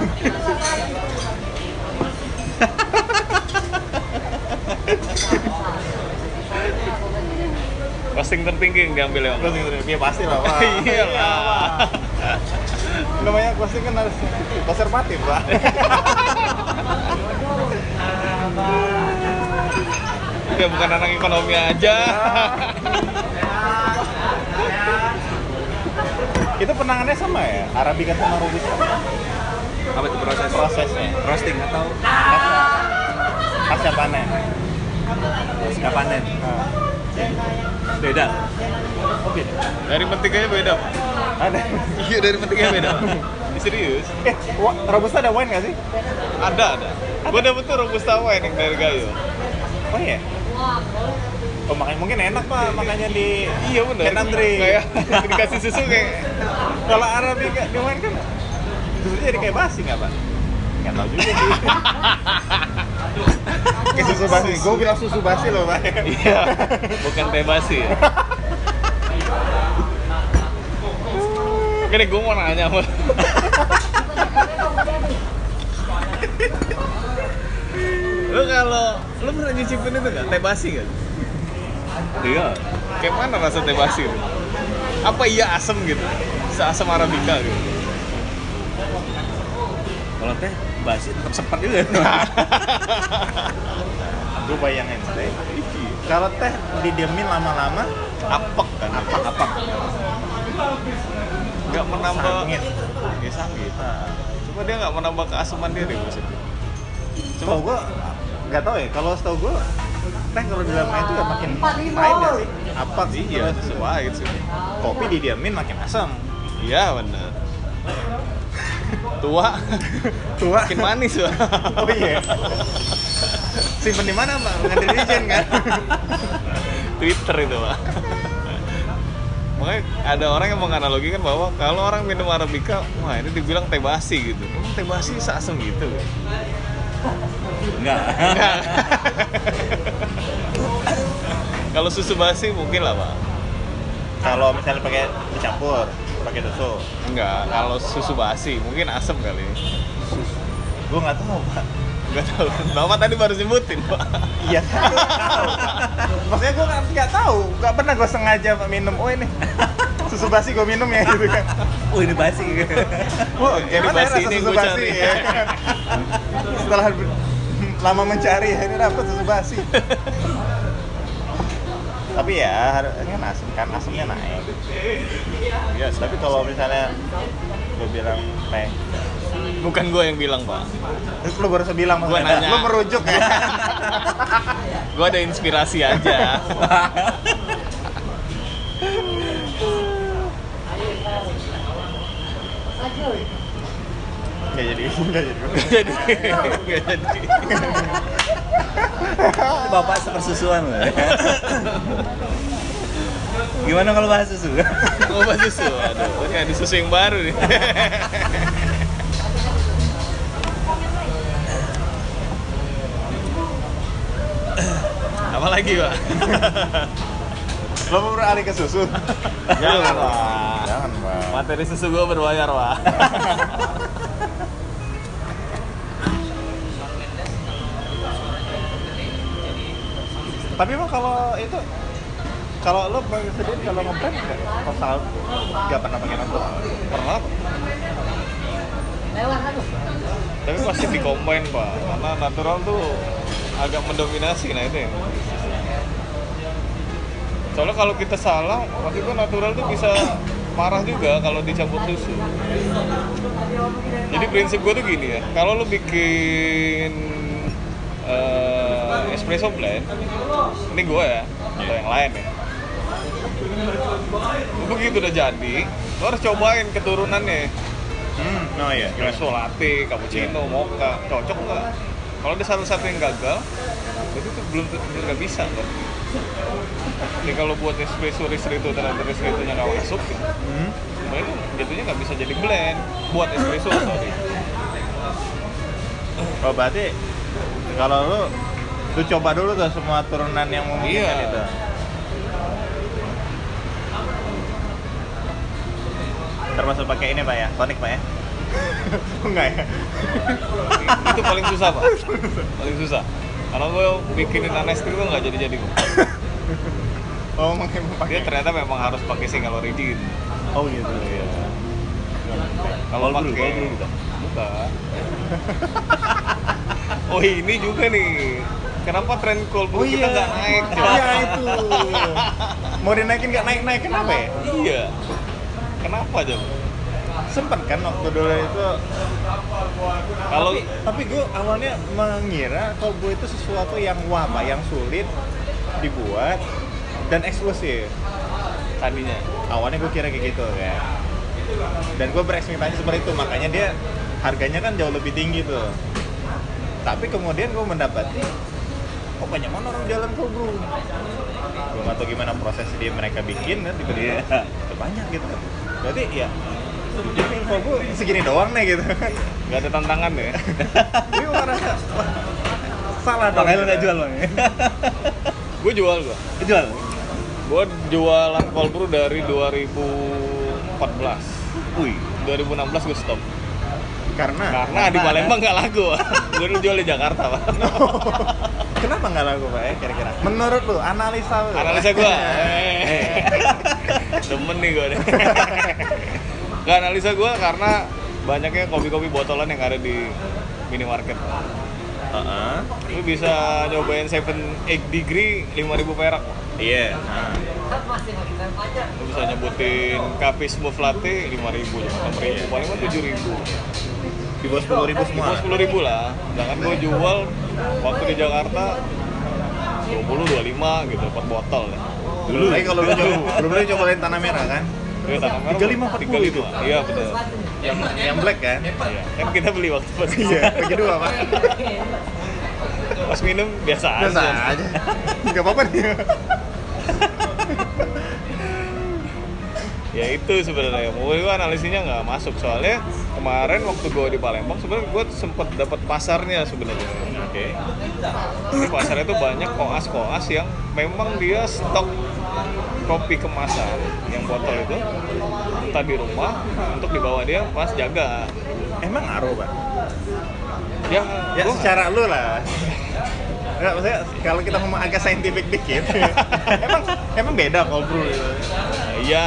S1: Costing tertinggi yang diambil ya, Pak.
S2: Closing review gitu pasti lah Pak.
S1: Iya lah.
S2: namanya closing kan harus konservatif pak
S1: Dia bukan anak ekonomi aja. Iya.
S2: Itu penangannya sama ya? Arabica sama Robusta?
S3: apa itu proses
S2: Prosesnya?
S3: roasting atau
S2: Pasca panen?
S3: pasca panen
S2: Nah,
S3: beda
S2: Oke.
S1: Dari mentiganya beda. Pak.
S2: Ada.
S1: Iya dari mentiganya beda. Ini Serius?
S2: Eh, wa- Robusta ada wine nggak sih?
S1: Ada ada. Gue dapet tuh robusta wine yang dari Gayo.
S2: Oh iya? Oh, makanya mungkin enak pak, makanya di
S1: Iya benar.
S2: Ken Andre.
S1: Kayak dikasih susu kayak
S2: Kalau Arabica di wine kan justru jadi kayak basi nggak pak? Nggak tahu juga sih. Kayak susu basi, gue bilang susu basi loh pak.
S1: Iya. Bukan teh basi ya. Oke gue mau nanya sama lu. Lu kalau lu pernah nyicipin itu nggak? Teh basi nggak?
S3: iya
S1: Kayak mana rasa teh basi itu? Apa iya asem gitu? Seasem Arabica gitu?
S3: kalau teh basi tetap sempat juga
S2: Gue bayangin deh. Kalau teh didiemin lama-lama,
S1: Apek
S2: kan apa?
S3: apa
S1: nggak menambah
S2: Sangit.
S1: Ya sangit Cuma dia nggak menambah keasuman dia deh maksudnya
S2: Coba gue nggak tahu ya. Kalau setahu gue teh kalau dilamain itu ya makin pahit nggak sih? Apa sih?
S1: Iya, sesuai sih
S2: Kopi didiemin makin asam.
S1: Iya benar. Tua,
S2: Tua.
S1: makin manis Pak.
S2: Oh iya. Simpen di mana pak? Nggak di regen kan?
S1: Twitter itu pak. Makanya ada orang yang menganalogikan bahwa kalau orang minum Arabica, wah ini dibilang teh basi gitu. Emang teh basi seasem gitu.
S3: enggak
S1: Enggak. kalau susu basi mungkin lah pak.
S2: Kalau misalnya pakai dicampur, pakai susu,
S1: Enggak, kalau susu basi mungkin asem kali.
S2: gue nggak tahu pak.
S1: Enggak tahu. Bapak tadi baru nyebutin pak.
S2: Iya. kan? Maksudnya gue nggak nggak tahu, nggak pernah gue sengaja Pak, minum. Oh ini susu basi gue minum ya gitu kan.
S3: oh ini basi
S2: Wah,
S1: Ini
S2: gimana ya
S1: basi
S2: rasa
S1: ini
S2: susu
S1: gua
S2: basi
S1: cari.
S2: ya kan? Setelah ber- lama mencari ini dapat susu basi. tapi ya har- kan asam kan asamnya naik. Ya, tapi kalau misalnya gue bilang teh,
S1: Bukan gue yang bilang pak.
S2: terus lu baru bilang
S1: Gua
S2: maksudnya,
S1: nanya.
S2: lu merujuk ya.
S1: Gue ada inspirasi aja.
S2: Gak jadi, gak jadi.
S1: jadi nggak jadi
S3: bapak sepersusuan loh gimana kalau bahas susu
S1: ngobat susu aduh ini ada susu yang baru nih apa lagi pak
S2: Lo mau beralih ke susu?
S1: Jangan, Pak.
S2: Jangan, Pak.
S1: Iya. materi susu gue berbayar pak
S2: Tapi emang kalau itu kalau lo pakai sendiri kalau ngebrand nggak pasal nggak pernah pakai nafsu
S1: pernah Pak. tapi pasti dikombin pak karena natural tuh agak mendominasi nah itu ya soalnya kalau kita salah waktu itu natural tuh bisa parah juga kalau dicampur susu jadi prinsip gue tuh gini ya kalau lu bikin eh, espresso blend ini gue ya atau yang lain ya begitu udah jadi lo harus cobain keturunannya
S2: hmm oh iya
S1: espresso latte, cappuccino, mocha, cocok nggak? Kalau ada satu-satu yang gagal, berarti itu belum belum nggak bisa kan? Jadi kalau buat espresso ristretto ternyata ristrettonya nggak masuk, ya,
S2: hmm.
S1: sebenarnya itu jatuhnya nggak bisa jadi blend buat espresso sorry.
S2: oh berarti kalau lo lu coba dulu tuh semua turunan yang memungkinkan
S1: Iya.
S2: itu termasuk pakai ini pak ya tonik pak ya enggak ya
S1: itu paling susah pak, paling susah. Karena gue bikinin anesti itu nggak jadi-jadi kok.
S2: oh mungkin
S1: Dia
S2: pakai
S1: ternyata memang harus pakai single origin.
S2: oh
S1: iya,
S2: gitu ya
S1: Kalau
S3: Cold brew, cold
S1: pakai
S3: brew bukan?
S1: bukan. Oh ini juga nih Kenapa tren cold brew
S2: Oh
S1: kita
S2: iya.
S1: nggak naik? coy?
S2: Iya itu. Mau dinaikin nggak naik naik kenapa ya?
S1: Iya. Kenapa coba?
S2: Sempet kan waktu dulu itu.
S1: Kalau
S2: Tapi- tapi gue awalnya mengira kalau gue itu sesuatu yang wabah, yang sulit dibuat dan eksklusif.
S1: tadinya
S2: Awalnya gue kira kayak gitu kan. Dan gue berekspektasi seperti itu, makanya dia harganya kan jauh lebih tinggi tuh. Tapi kemudian gue mendapati kok banyak banget orang jalan cold brew. Gue nggak tahu gimana proses dia mereka bikin kan tiba-tiba
S3: Iya.
S2: "Kok banyak gitu. Berarti ya ini cold brew segini doang nih gitu.
S1: nggak ada tantangan ya.
S2: Ini gue ngerasa wah, salah dong.
S3: Makanya lu
S2: gitu.
S3: nggak jual bang ya?
S1: gue jual gue.
S3: Lu jual?
S1: Gue jualan cold brew dari 2014.
S3: Wih,
S1: 2016 gue stop.
S2: Karena
S1: Karena di Palembang nggak laku. gue dulu jual di Jakarta pak.
S2: kenapa nggak laku pak ya kira-kira? Menurut lu analisa lu.
S1: Analisa gue.
S2: Eh.
S1: Demen nih gue nih. Nggak analisa gue karena banyaknya kopi-kopi botolan yang ada di minimarket.
S2: Heeh.
S1: Lu bisa nyobain 7 egg degree 5000 perak. Pak.
S2: Iya.
S1: Lu bisa nyebutin kopi smooth latte 5000, 6000, paling kan 7000.
S2: Di bawah sepuluh ribu
S1: Di
S2: semua.
S1: bawah 10 ribu lah. Sedangkan gue jual waktu di Jakarta 20, 25 gitu per botol ya.
S2: Dulu. Tapi kalau lu coba, lu boleh cobain tanah merah kan?
S1: Iya, tanah merah
S2: 35, 40.
S1: 35. Iya, betul.
S2: Yang yang black kan?
S1: Iya. Kan kita beli waktu pas
S2: Iya, bagi dua pak.
S1: Pas minum biasa,
S2: Biasa
S1: aja.
S2: aja. Gak apa-apa dia.
S1: Ya itu sebenarnya. Gue gue analisinya nggak masuk soalnya kemarin waktu gue di Palembang sebenarnya gue sempet dapat pasarnya sebenarnya.
S2: Oke.
S1: Di pasarnya tuh banyak koas-koas yang memang dia stok kopi kemasan yang botol itu entah di rumah untuk dibawa dia pas jaga.
S2: Emang ngaruh pak?
S1: Ya,
S2: Ya
S1: gua-
S2: secara lu lah. Enggak, maksudnya kalau kita ngomong agak saintifik dikit, emang emang beda kalau bro.
S1: Ya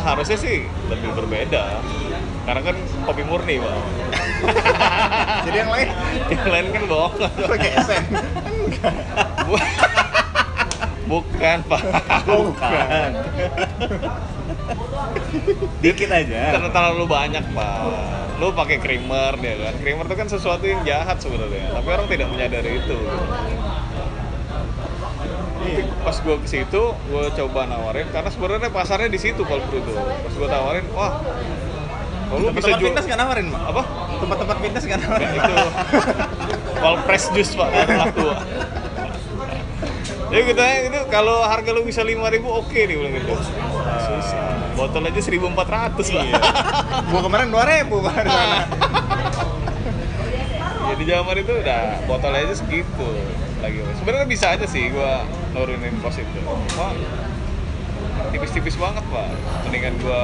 S1: harusnya sih lebih berbeda. Karena kan kopi murni, Pak.
S2: Jadi yang lain
S1: Yang lain kan bohong.
S2: pakai esen.
S1: Bu- Bukan, Pak.
S3: bukan. Dikit aja.
S2: Eh.
S1: Karena terlalu banyak, Pak. Lu pakai creamer dia kan. Creamer itu kan sesuatu yang jahat sebenarnya, tapi orang tidak menyadari itu. Nanti pas gue ke situ, gue coba nawarin karena sebenarnya pasarnya di situ kalau perlu tuh. Pas gue tawarin, wah, oh, lu bisa
S2: Tempat-tempat
S1: jual
S2: fitness nggak nawarin pak?
S1: apa?
S2: Tempat-tempat fitness nggak nawarin.
S1: Nah,
S2: Pak?
S1: itu Walpres jus pak baru laku pak jadi gue tanya gitu kalau harga lu bisa 5000 oke nih bilang gitu susah botol aja 1400 pak
S2: Iya. Gua kemarin 2000 pak. di sana.
S1: jadi zaman itu udah botol aja segitu lagi sebenarnya bisa aja sih gua nurunin kos itu Wah, tipis-tipis banget pak mendingan gua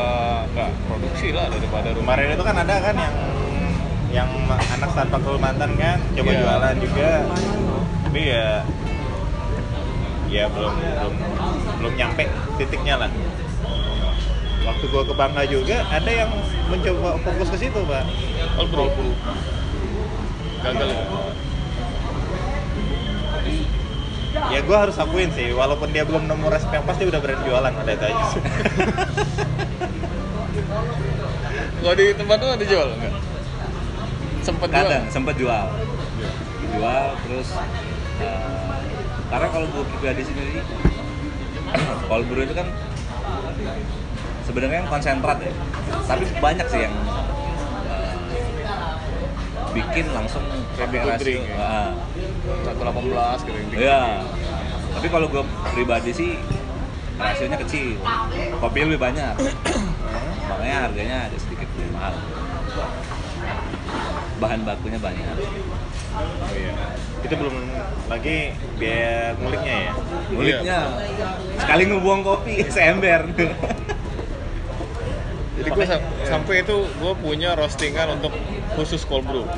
S1: nggak produksi lah daripada rumah
S2: Kemarin itu kan ada kan yang yang anak Startup Kalimantan kan coba
S1: Iya.
S2: jualan juga. Tapi ya ya belum belum belum nyampe titiknya lah. Waktu gua ke Bangka juga ada yang mencoba fokus ke situ, Pak.
S1: All pro. gagal ya?
S2: Ya gua harus akuin sih, walaupun dia belum nemu resep yang pasti udah berani jualan ada itu aja sih.
S1: Kalau di tempat lu ada jual nggak? Sempet jual.
S3: Kadang sempet jual. Jual terus eh, karena kalau gue pribadi sendiri kalau brew itu kan sebenarnya kan konsentrat ya. Tapi banyak sih yang eh, bikin langsung pakai
S1: to
S3: rasio.
S1: drink ya?
S3: Ah.
S1: 118 gitu yang tinggi.
S3: Iya. Tapi kalau gue pribadi sih rasionya kecil. Kopi lebih banyak. Makanya harganya agak sedikit lebih mahal. Bahan bakunya banyak.
S2: Oh iya. Itu belum lagi biaya nguliknya ya.
S3: Mulitnya sekali ngebuang kopi seember.
S1: Jadi gue sam- sampai itu gue punya roastingan untuk khusus cold brew.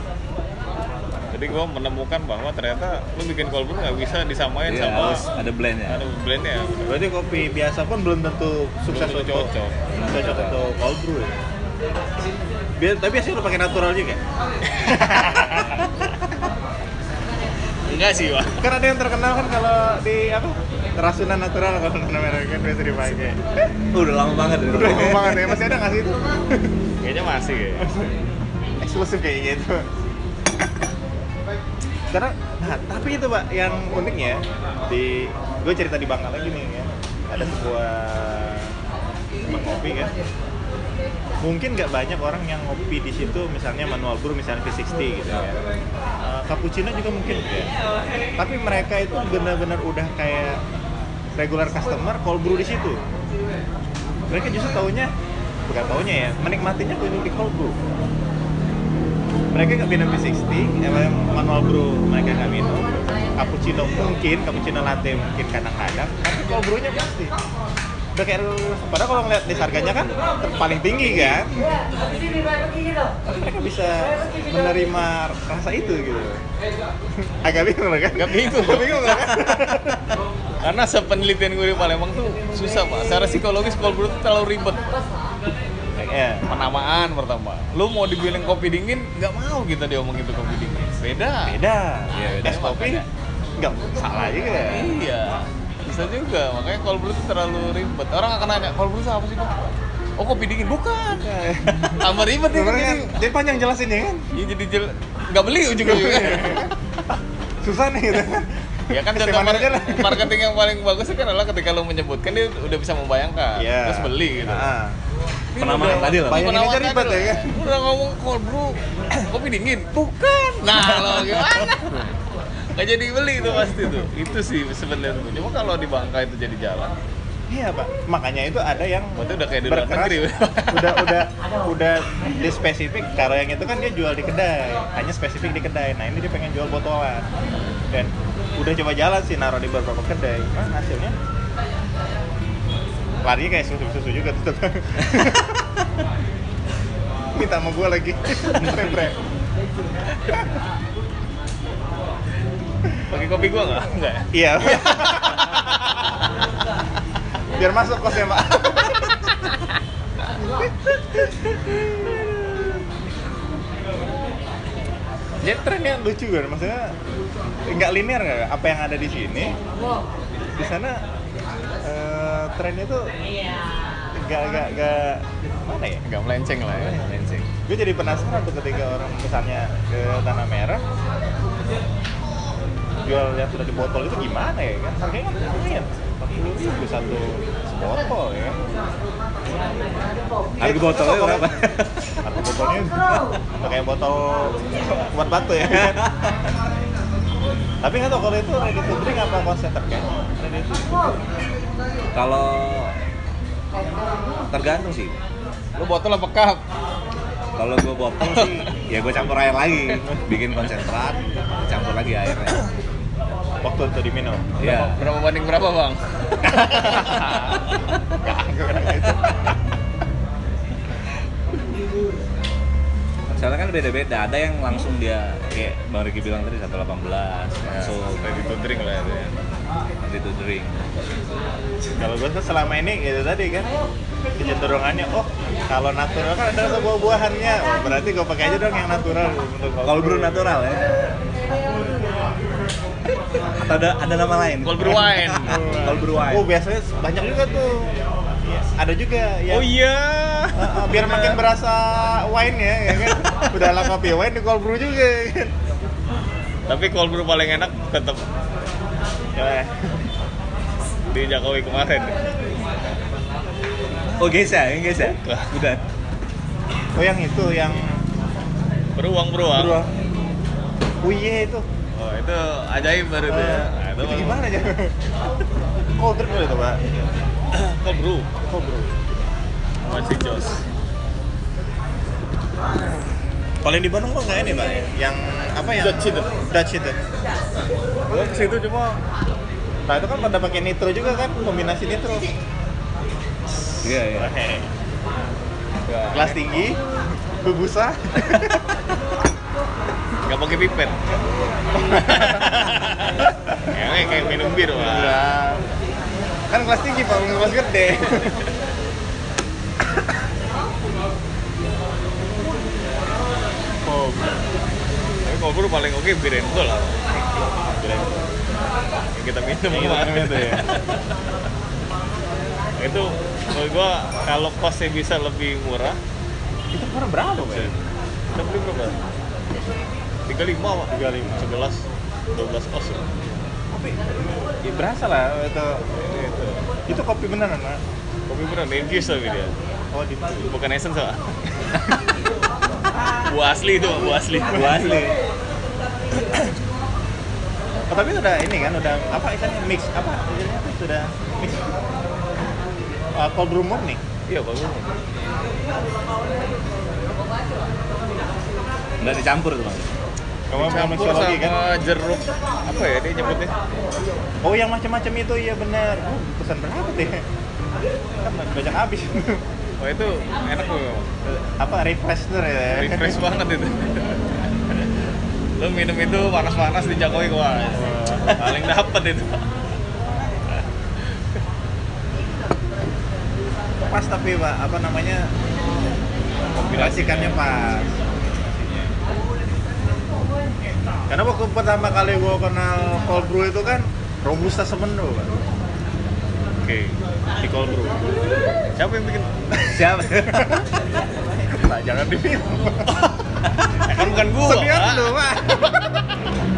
S1: Jadi gue menemukan bahwa ternyata lu bikin cold brew nggak bisa disamain
S3: Iya,
S1: sama
S3: harus ada blendnya.
S1: ada blendnya.
S2: Berarti kopi biasa pun belum tentu sukses
S1: Belum tentu
S2: untuk
S1: cocok.
S2: cocok untuk cold brew ya. Biar, tapi biasanya lu pakai natural juga.
S1: enggak sih Pak.
S2: Kan ada yang terkenal kan kalau di apa? Rasunan natural kalau namanya kan biasa dipakai.
S3: udah lama banget ya.
S2: Udah ngomong banget ya, masih ada nggak sih itu?
S1: Kayaknya masih ya. kayaknya.
S2: Eksklusif kayak gitu. Karena, nah, tapi itu pak yang uniknya di gue cerita di Bangka lagi nih ya. Ada sebuah tempat kopi kan. Mungkin nggak banyak orang yang ngopi di situ, misalnya manual brew, misalnya V60 gitu ya. Eh, cappuccino juga mungkin ya. Tapi mereka itu benar-benar udah kayak regular customer cold brew di situ. Mereka justru taunya bukan taunya ya, menikmatinya tuh di cold brew. Mereka nggak minum V60, emang manual brew mereka nggak minum. Cappuccino mungkin, cappuccino latte mungkin kadang-kadang, tapi cold brew-nya pasti. Udah kayak regular- padahal kalau ngeliat list harganya kan paling tinggi kan, tapi mereka bisa menerima rasa itu gitu. Agak bingung kan?
S1: Agak bingung.
S2: bingung kan?
S1: Karena sepenelitian gue di Palembang tuh susah pak. Secara psikologis cold brew tuh terlalu ribet.
S2: Iya.
S1: Penamaan pertama. Lu mau dibilang kopi dingin, nggak mau kita diomongin tuh kopi dingin. Beda.
S2: beda
S1: Iya, beda.
S2: es kopi
S1: Makanya.
S2: nggak salah juga ya?
S1: Iya. Bisa juga. Makanya cold brew tuh terlalu ribet. Orang akan nanya cold brew itu apa sih pak? Oh kopi dingin bukan. Tambah ribet ya.
S2: Sebenarnya
S1: jadi-
S2: jadi panjang jelasin ya kan
S1: Iya jadi jel nggak beli ujung-ujungnya.
S2: Iya. susah nih gitu kan
S1: ya Iya. kan contoh
S2: Kesimpulan
S1: mar-
S2: aja lah.
S1: marketing yang paling bagus kan adalah ketika lo menyebutkan dia udah bisa membayangkan
S2: Iya.
S1: terus beli gitu.
S2: Ah.
S1: Ini
S3: Penamaan
S1: udah-
S3: tadi lah.
S1: ini
S2: Bayangin aja
S1: penamaan
S2: ribet
S1: tadi
S2: ya
S1: lah.
S2: kan?
S1: Udah ngomong cold brew, kopi dingin. Bukan. Nah, lo gimana? Gak jadi beli itu pasti tuh. Itu sih sebenarnya. Cuma kalau di Bangka itu jadi jalan.
S2: Iya pak, makanya itu ada yang
S1: Berarti udah kayak di luar
S2: berkeras,
S1: negeri.
S2: udah udah udah di spesifik. Kalau yang itu kan dia jual di kedai, hanya spesifik di kedai. Nah ini dia pengen jual botolan dan udah coba jalan sih naruh di beberapa kedai. Nah, hasilnya larinya kayak susu susu juga tuh. Minta sama gue lagi, Bre-bre.
S1: Pakai kopi gua nggak? Nggak. ya?
S2: Iya. Biar masuk kosnya pak. Jadi trennya lucu kan, maksudnya nggak linear nggak? Apa yang ada di sini, di sana eh, trennya tuh nggak nggak nggak mana ya?
S1: Nggak melenceng lah ya. Melenceng.
S2: gue jadi penasaran tuh ketika orang misalnya ke tanah merah jual yang sudah di botol itu gimana ya kan harganya kan lumayan empat puluh ribu satu sebotol ya
S3: Harga botolnya berapa?
S2: harga botolnya pakai botol buat batu ya kan? tapi nggak tahu kalau itu ready to drink apa konsenter kan ready to
S3: Kalau tergantung sih.
S1: Lo botol apa cup?
S3: Kalau gue botol sih, ya gue campur air lagi, bikin konsentrat, campur lagi airnya.
S2: waktu untuk diminum
S3: Iya.
S1: Berapa banding berapa bang?
S3: Soalnya kan beda-beda, ada yang langsung dia kayak Bang Riki bilang tadi 118 langsung
S1: Ready to drink lah itu ya.
S3: ready to drink.
S2: kalau gue tuh selama ini gitu tadi kan kecenderungannya oh kalau natural kan ada rasa buah-buahannya oh, berarti gue pakai aja dong yang natural untuk
S3: Kalau brew natural ya. Atau ada ada nama lain?
S1: Cold brew wine.
S3: Cold brew wine.
S2: oh biasanya banyak juga tuh ada juga ya
S1: Oh iya.
S2: biar makin berasa wine ya, ya kan udah lah kopi wine di cold brew juga ya kan
S1: Tapi cold brew paling enak tetap
S2: Ya,
S1: di Jokowi kemarin.
S3: Oh Gesa, yang Gesa? Bukan.
S2: oh yang itu yang
S1: Beruang beruang.
S2: beruang oh iya itu
S1: Oh itu ajaib baru tuh ya. Nah,
S2: Eh, itu gimana ya cold brew itu pak
S1: Cold brew.
S2: cold brew
S1: Masih jos.
S2: Kalau yang di Bandung kok nggak ini pak? Yang apa yang?
S1: Dutch itu.
S2: Dutch itu.
S1: Gue ke situ cuma
S2: Nah itu kan pada pakai nitro juga kan, kombinasi nitro.
S3: Iya, iya.
S2: Kelas tinggi, bubusa.
S1: nggak pakai pipet. ya kayak- kayak minum bir lah.
S2: Nah, kan kelas tinggi pak, bukan kelas gede.
S1: Tapi cold brew paling oke bir and cold lah.
S2: Kirain.
S1: yang kita minum
S2: Yang kita minum itu ya.
S1: itu menurut gua kalau costnya bisa lebih murah
S2: Itu kurang berapa, Pak?
S1: kita beli berapa? 35 pak
S2: 35.
S1: 11 12 os ya.
S2: Kopi. Ya berasa lah itu.
S1: itu
S2: Itu kopi beneran, Nak.
S1: kopi beneran infused tapi dia
S2: Oh, di
S1: bukan essence pak buah asli itu Pak, buah asli
S3: Buah asli.
S2: Oh, tapi udah ini kan udah apa istilahnya mix apa istilahnya apa sudah mix uh, cold brew morning
S1: iya bagus
S3: Nggak dicampur tuh bang.
S2: kamu mau
S1: campur
S2: mixologi
S1: sama
S2: kan
S1: jeruk apa ya dia nyebutnya
S2: oh yang macam-macam itu iya benar oh, pesan berapa deh kan banyak habis
S1: wah Oh, itu enak loh
S2: apa refresher ya
S1: refresh banget itu lu minum itu panas-panas di Jokowi wah paling dapet itu
S2: pas tapi pak apa namanya kombinasikannya pas karena waktu pertama kali gua kenal cold brew itu kan robusta semendo pak
S1: oke
S2: di cold brew
S1: siapa yang bikin
S3: Siap.
S2: nah, jangan diminum
S1: Eh, kan bukan gua
S2: Senior
S1: Pak.
S2: lu, Pak.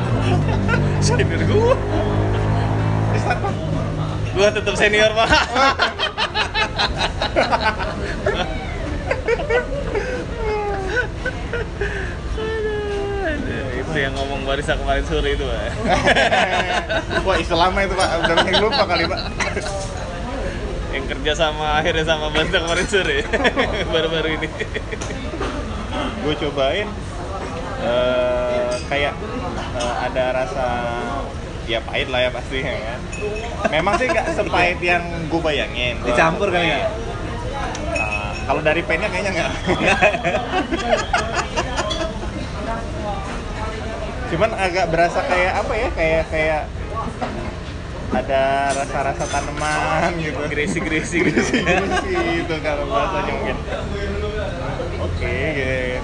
S1: senior gua
S2: Di start, Pak.
S1: gua tetap senior pak Aduh, itu yang ngomong barisa kemarin sore itu pak
S2: Wah, istilah lama itu, Pak. Udah makin lupa kali, Pak.
S1: yang kerja sama akhirnya sama Barisa kemarin sore baru-baru ini
S2: Gue cobain eh, kayak eh, ada rasa ya pahit lah ya pasti ya kan. Memang sih nggak sepahit yang gue bayangin.
S3: Dicampur kali ya?
S2: Ah, kalau dari pennya kayaknya nggak. Cuman agak berasa kayak apa ya? Kayak kayak ada rasa-rasa tanaman gitu.
S1: Gresi-gresi gitu
S2: Sih, itu kalau bahasanya mungkin. Oke, gitu.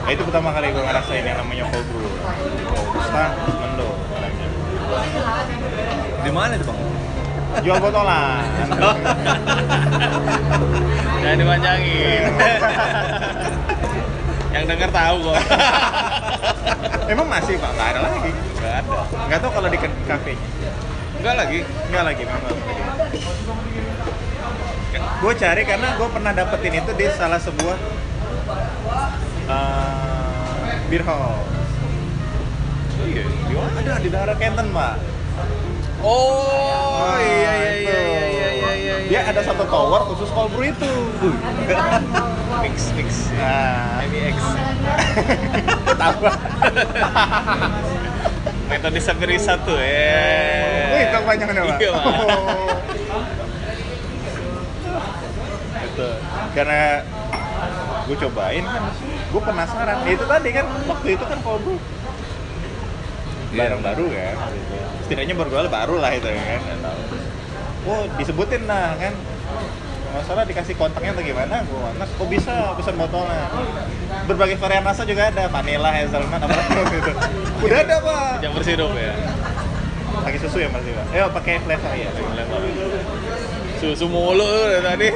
S2: Nah, itu pertama kali gue ngerasain yang namanya cold brew. Robusta, Mendo.
S3: Di mana itu bang?
S2: Jual botolan.
S1: Jangan dipanjangin. Yang denger tahu kok.
S2: Emang masih pak? Gak ada lagi.
S1: Enggak ada.
S2: Gak tau kalau di ke- kafenya.
S1: Enggak lagi.
S2: Enggak lagi, memang. Gue cari karena gue pernah dapetin itu di salah sebuah eh beer hall.
S1: Oh iya.
S2: Di mana? Ada di daerah Canton, Pak.
S1: Oh
S2: Nah,
S1: iya iya
S2: itu.
S1: iya iya iya iya. iya, iya.
S2: Dia ada satu tower khusus cold brew itu.
S1: mix mix. E
S2: Nah,
S1: MX.
S2: tambah.
S1: Metode Saberi satu eh.
S2: Wih, Oh, itu kepanjangannya, Pak. Oh.
S1: Iya, Pak.
S2: Itu. Karena gue cobain kan, gue penasaran. Ya, itu tadi kan waktu itu kan cold brew barang baru kan gitu. setidaknya berjual baru lah itu ya kan Nggak tahu. oh disebutin lah kan masalah dikasih kontaknya atau gimana gua anak kok bisa pesan botolnya berbagai varian rasa juga ada vanilla hazelnut apa gitu udah ada pak
S1: Campur sirup ya.
S2: pakai susu ya masih pak eh pakai flavor ya
S1: Susu mulu dari tadi.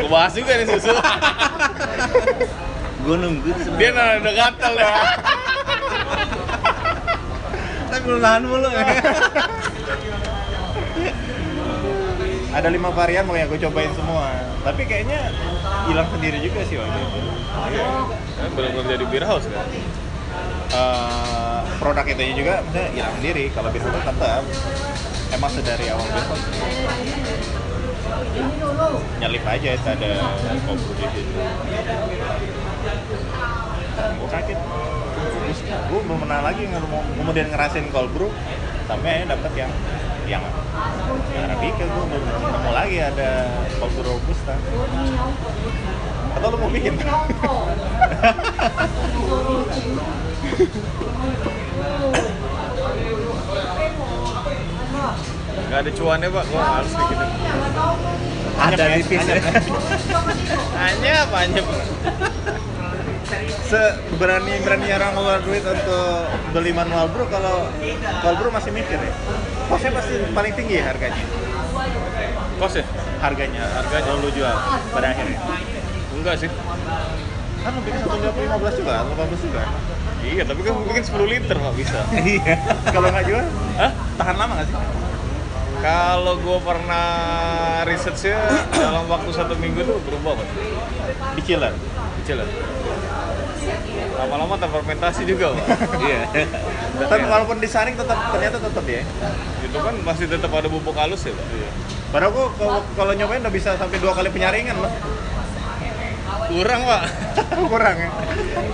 S1: Gue bahas juga nih susu.
S3: Gue nunggu
S1: Dia nah, udah gatel ya.
S3: tapi belum nahan mulu ya.
S2: ada lima varian makanya gue cobain semua tapi kayaknya hilang sendiri juga sih waktu itu
S1: Eh, Belum kerja di beer house kan?
S2: Eh, produk itu juga maksudnya hilang sendiri kalau bisa tuh tetap emang sedari awal bisa nyelip aja itu ada kompor di situ gue kaget gue belum pernah lagi ngel- kemudian ngerasain cold brew sampai akhirnya dapet yang yang yang arabica gue belum nemu lagi ada cold brew robusta atau lo mau bikin
S1: Gak ada cuannya pak, gua harus gitu. bikin
S3: Ada
S2: Anyep ya,
S3: tipis ya.
S2: anyep.
S1: Anyep, anyep
S2: seberani berani orang keluar duit untuk beli manual bro kalau kalau bro masih mikir ya kosnya pasti paling tinggi ya harganya
S1: Kos ya?
S2: harganya
S1: Harganya.
S2: kalau lu jual pada akhirnya
S1: Enggak sih.
S2: kan lu bikin satu juta lima belas juga delapan belas juga
S1: Iya, tapi kan mungkin 10 liter mah bisa.
S2: iya kalau nggak jual
S1: Hah?
S2: tahan lama nggak sih
S1: Kalau gue pernah risetnya dalam waktu satu minggu tuh berubah banget.
S2: di chiller
S1: Kecil lah. Lama-lama terfermentasi juga, Pak.
S3: iya
S2: tapi walaupun disaring tetap ternyata tetap ya
S1: Itu kan masih tetap ada bubuk halus ya, Pak.
S2: padahal gua kalau- kalau nyobain udah bisa sampai dua kali penyaringan loh
S1: Kurang, Pak.
S2: kurang ya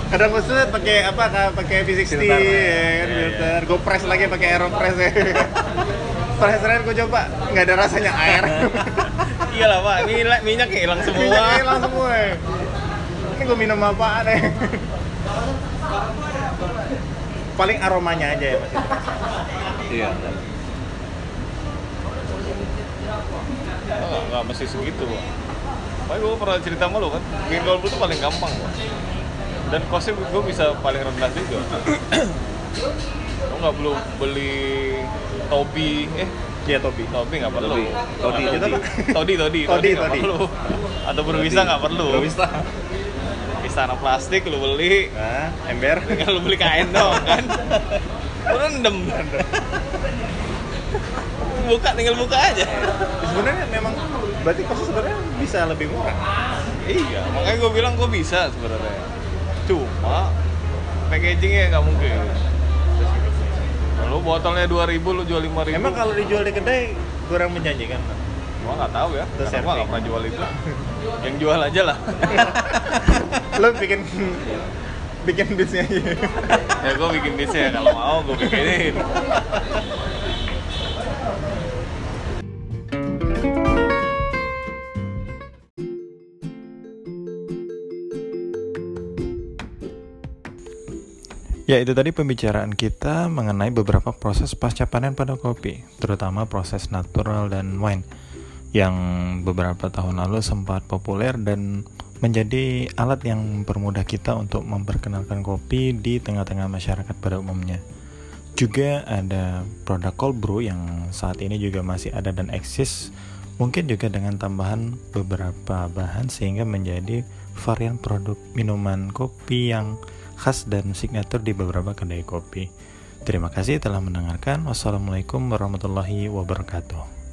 S2: kadang khusus pakai apa nah, pakai V60
S3: Filter.
S2: ya kan,
S1: Iya,
S2: filter gue press lagi pakai aeropress ya press terakhir gue coba nggak ada rasanya air
S1: Iyalah, Pak. Minyak minyaknya hilang
S2: minyak
S1: semua.
S2: hilang semua ya. ini gue minum apaan ya paling aromanya aja ya masih
S3: iya
S1: Enggak, enggak mesti segitu, Pak. Tapi gue pernah cerita sama lo kan, bikin golput itu paling gampang, Pak. Dan kosnya gue bisa paling rendah juga. lo nggak perlu beli topi, eh
S2: iya Tobi
S1: topi nggak perlu.
S3: Topi. Todi,
S1: Atau-
S2: todi.
S1: Todi, todi,
S2: Todi,
S1: nggak
S2: todi.
S1: perlu. Atau berbisa nggak perlu.
S3: berwista
S1: Istana plastik lo beli,
S2: nah ember
S1: tinggal lo beli kain dong kan. Lo rendem. buka, tinggal buka aja.
S2: sebenarnya memang berarti kosnya sebenarnya bisa lebih murah
S1: Iya, makanya gue bilang gue bisa sebenarnya. Cuma packagingnya nggak mungkin. Lu botolnya 2000 lu jual 5000.
S2: emang kalau dijual di kedai kurang menjanjikan
S1: gua nggak tahu ya.
S2: Terus
S1: Karena gua nggak
S2: serving.
S1: pernah jual itu. Yang jual aja lah.
S2: lo bikin bikin bisnya aja
S1: ya gue bikin bisnya kalau mau gue bikinin.
S4: Ya, itu tadi pembicaraan kita mengenai beberapa proses pasca panen pada kopi, terutama proses natural dan wine yang beberapa tahun lalu sempat populer dan menjadi alat yang mempermudah kita untuk memperkenalkan kopi di tengah-tengah masyarakat pada umumnya. Juga ada produk cold brew yang saat ini juga masih ada dan eksis, mungkin juga dengan tambahan beberapa bahan sehingga menjadi varian produk minuman kopi yang khas dan signatur di beberapa kedai kopi. Terima kasih telah mendengarkan. Wassalamualaikum warahmatullahi wabarakatuh.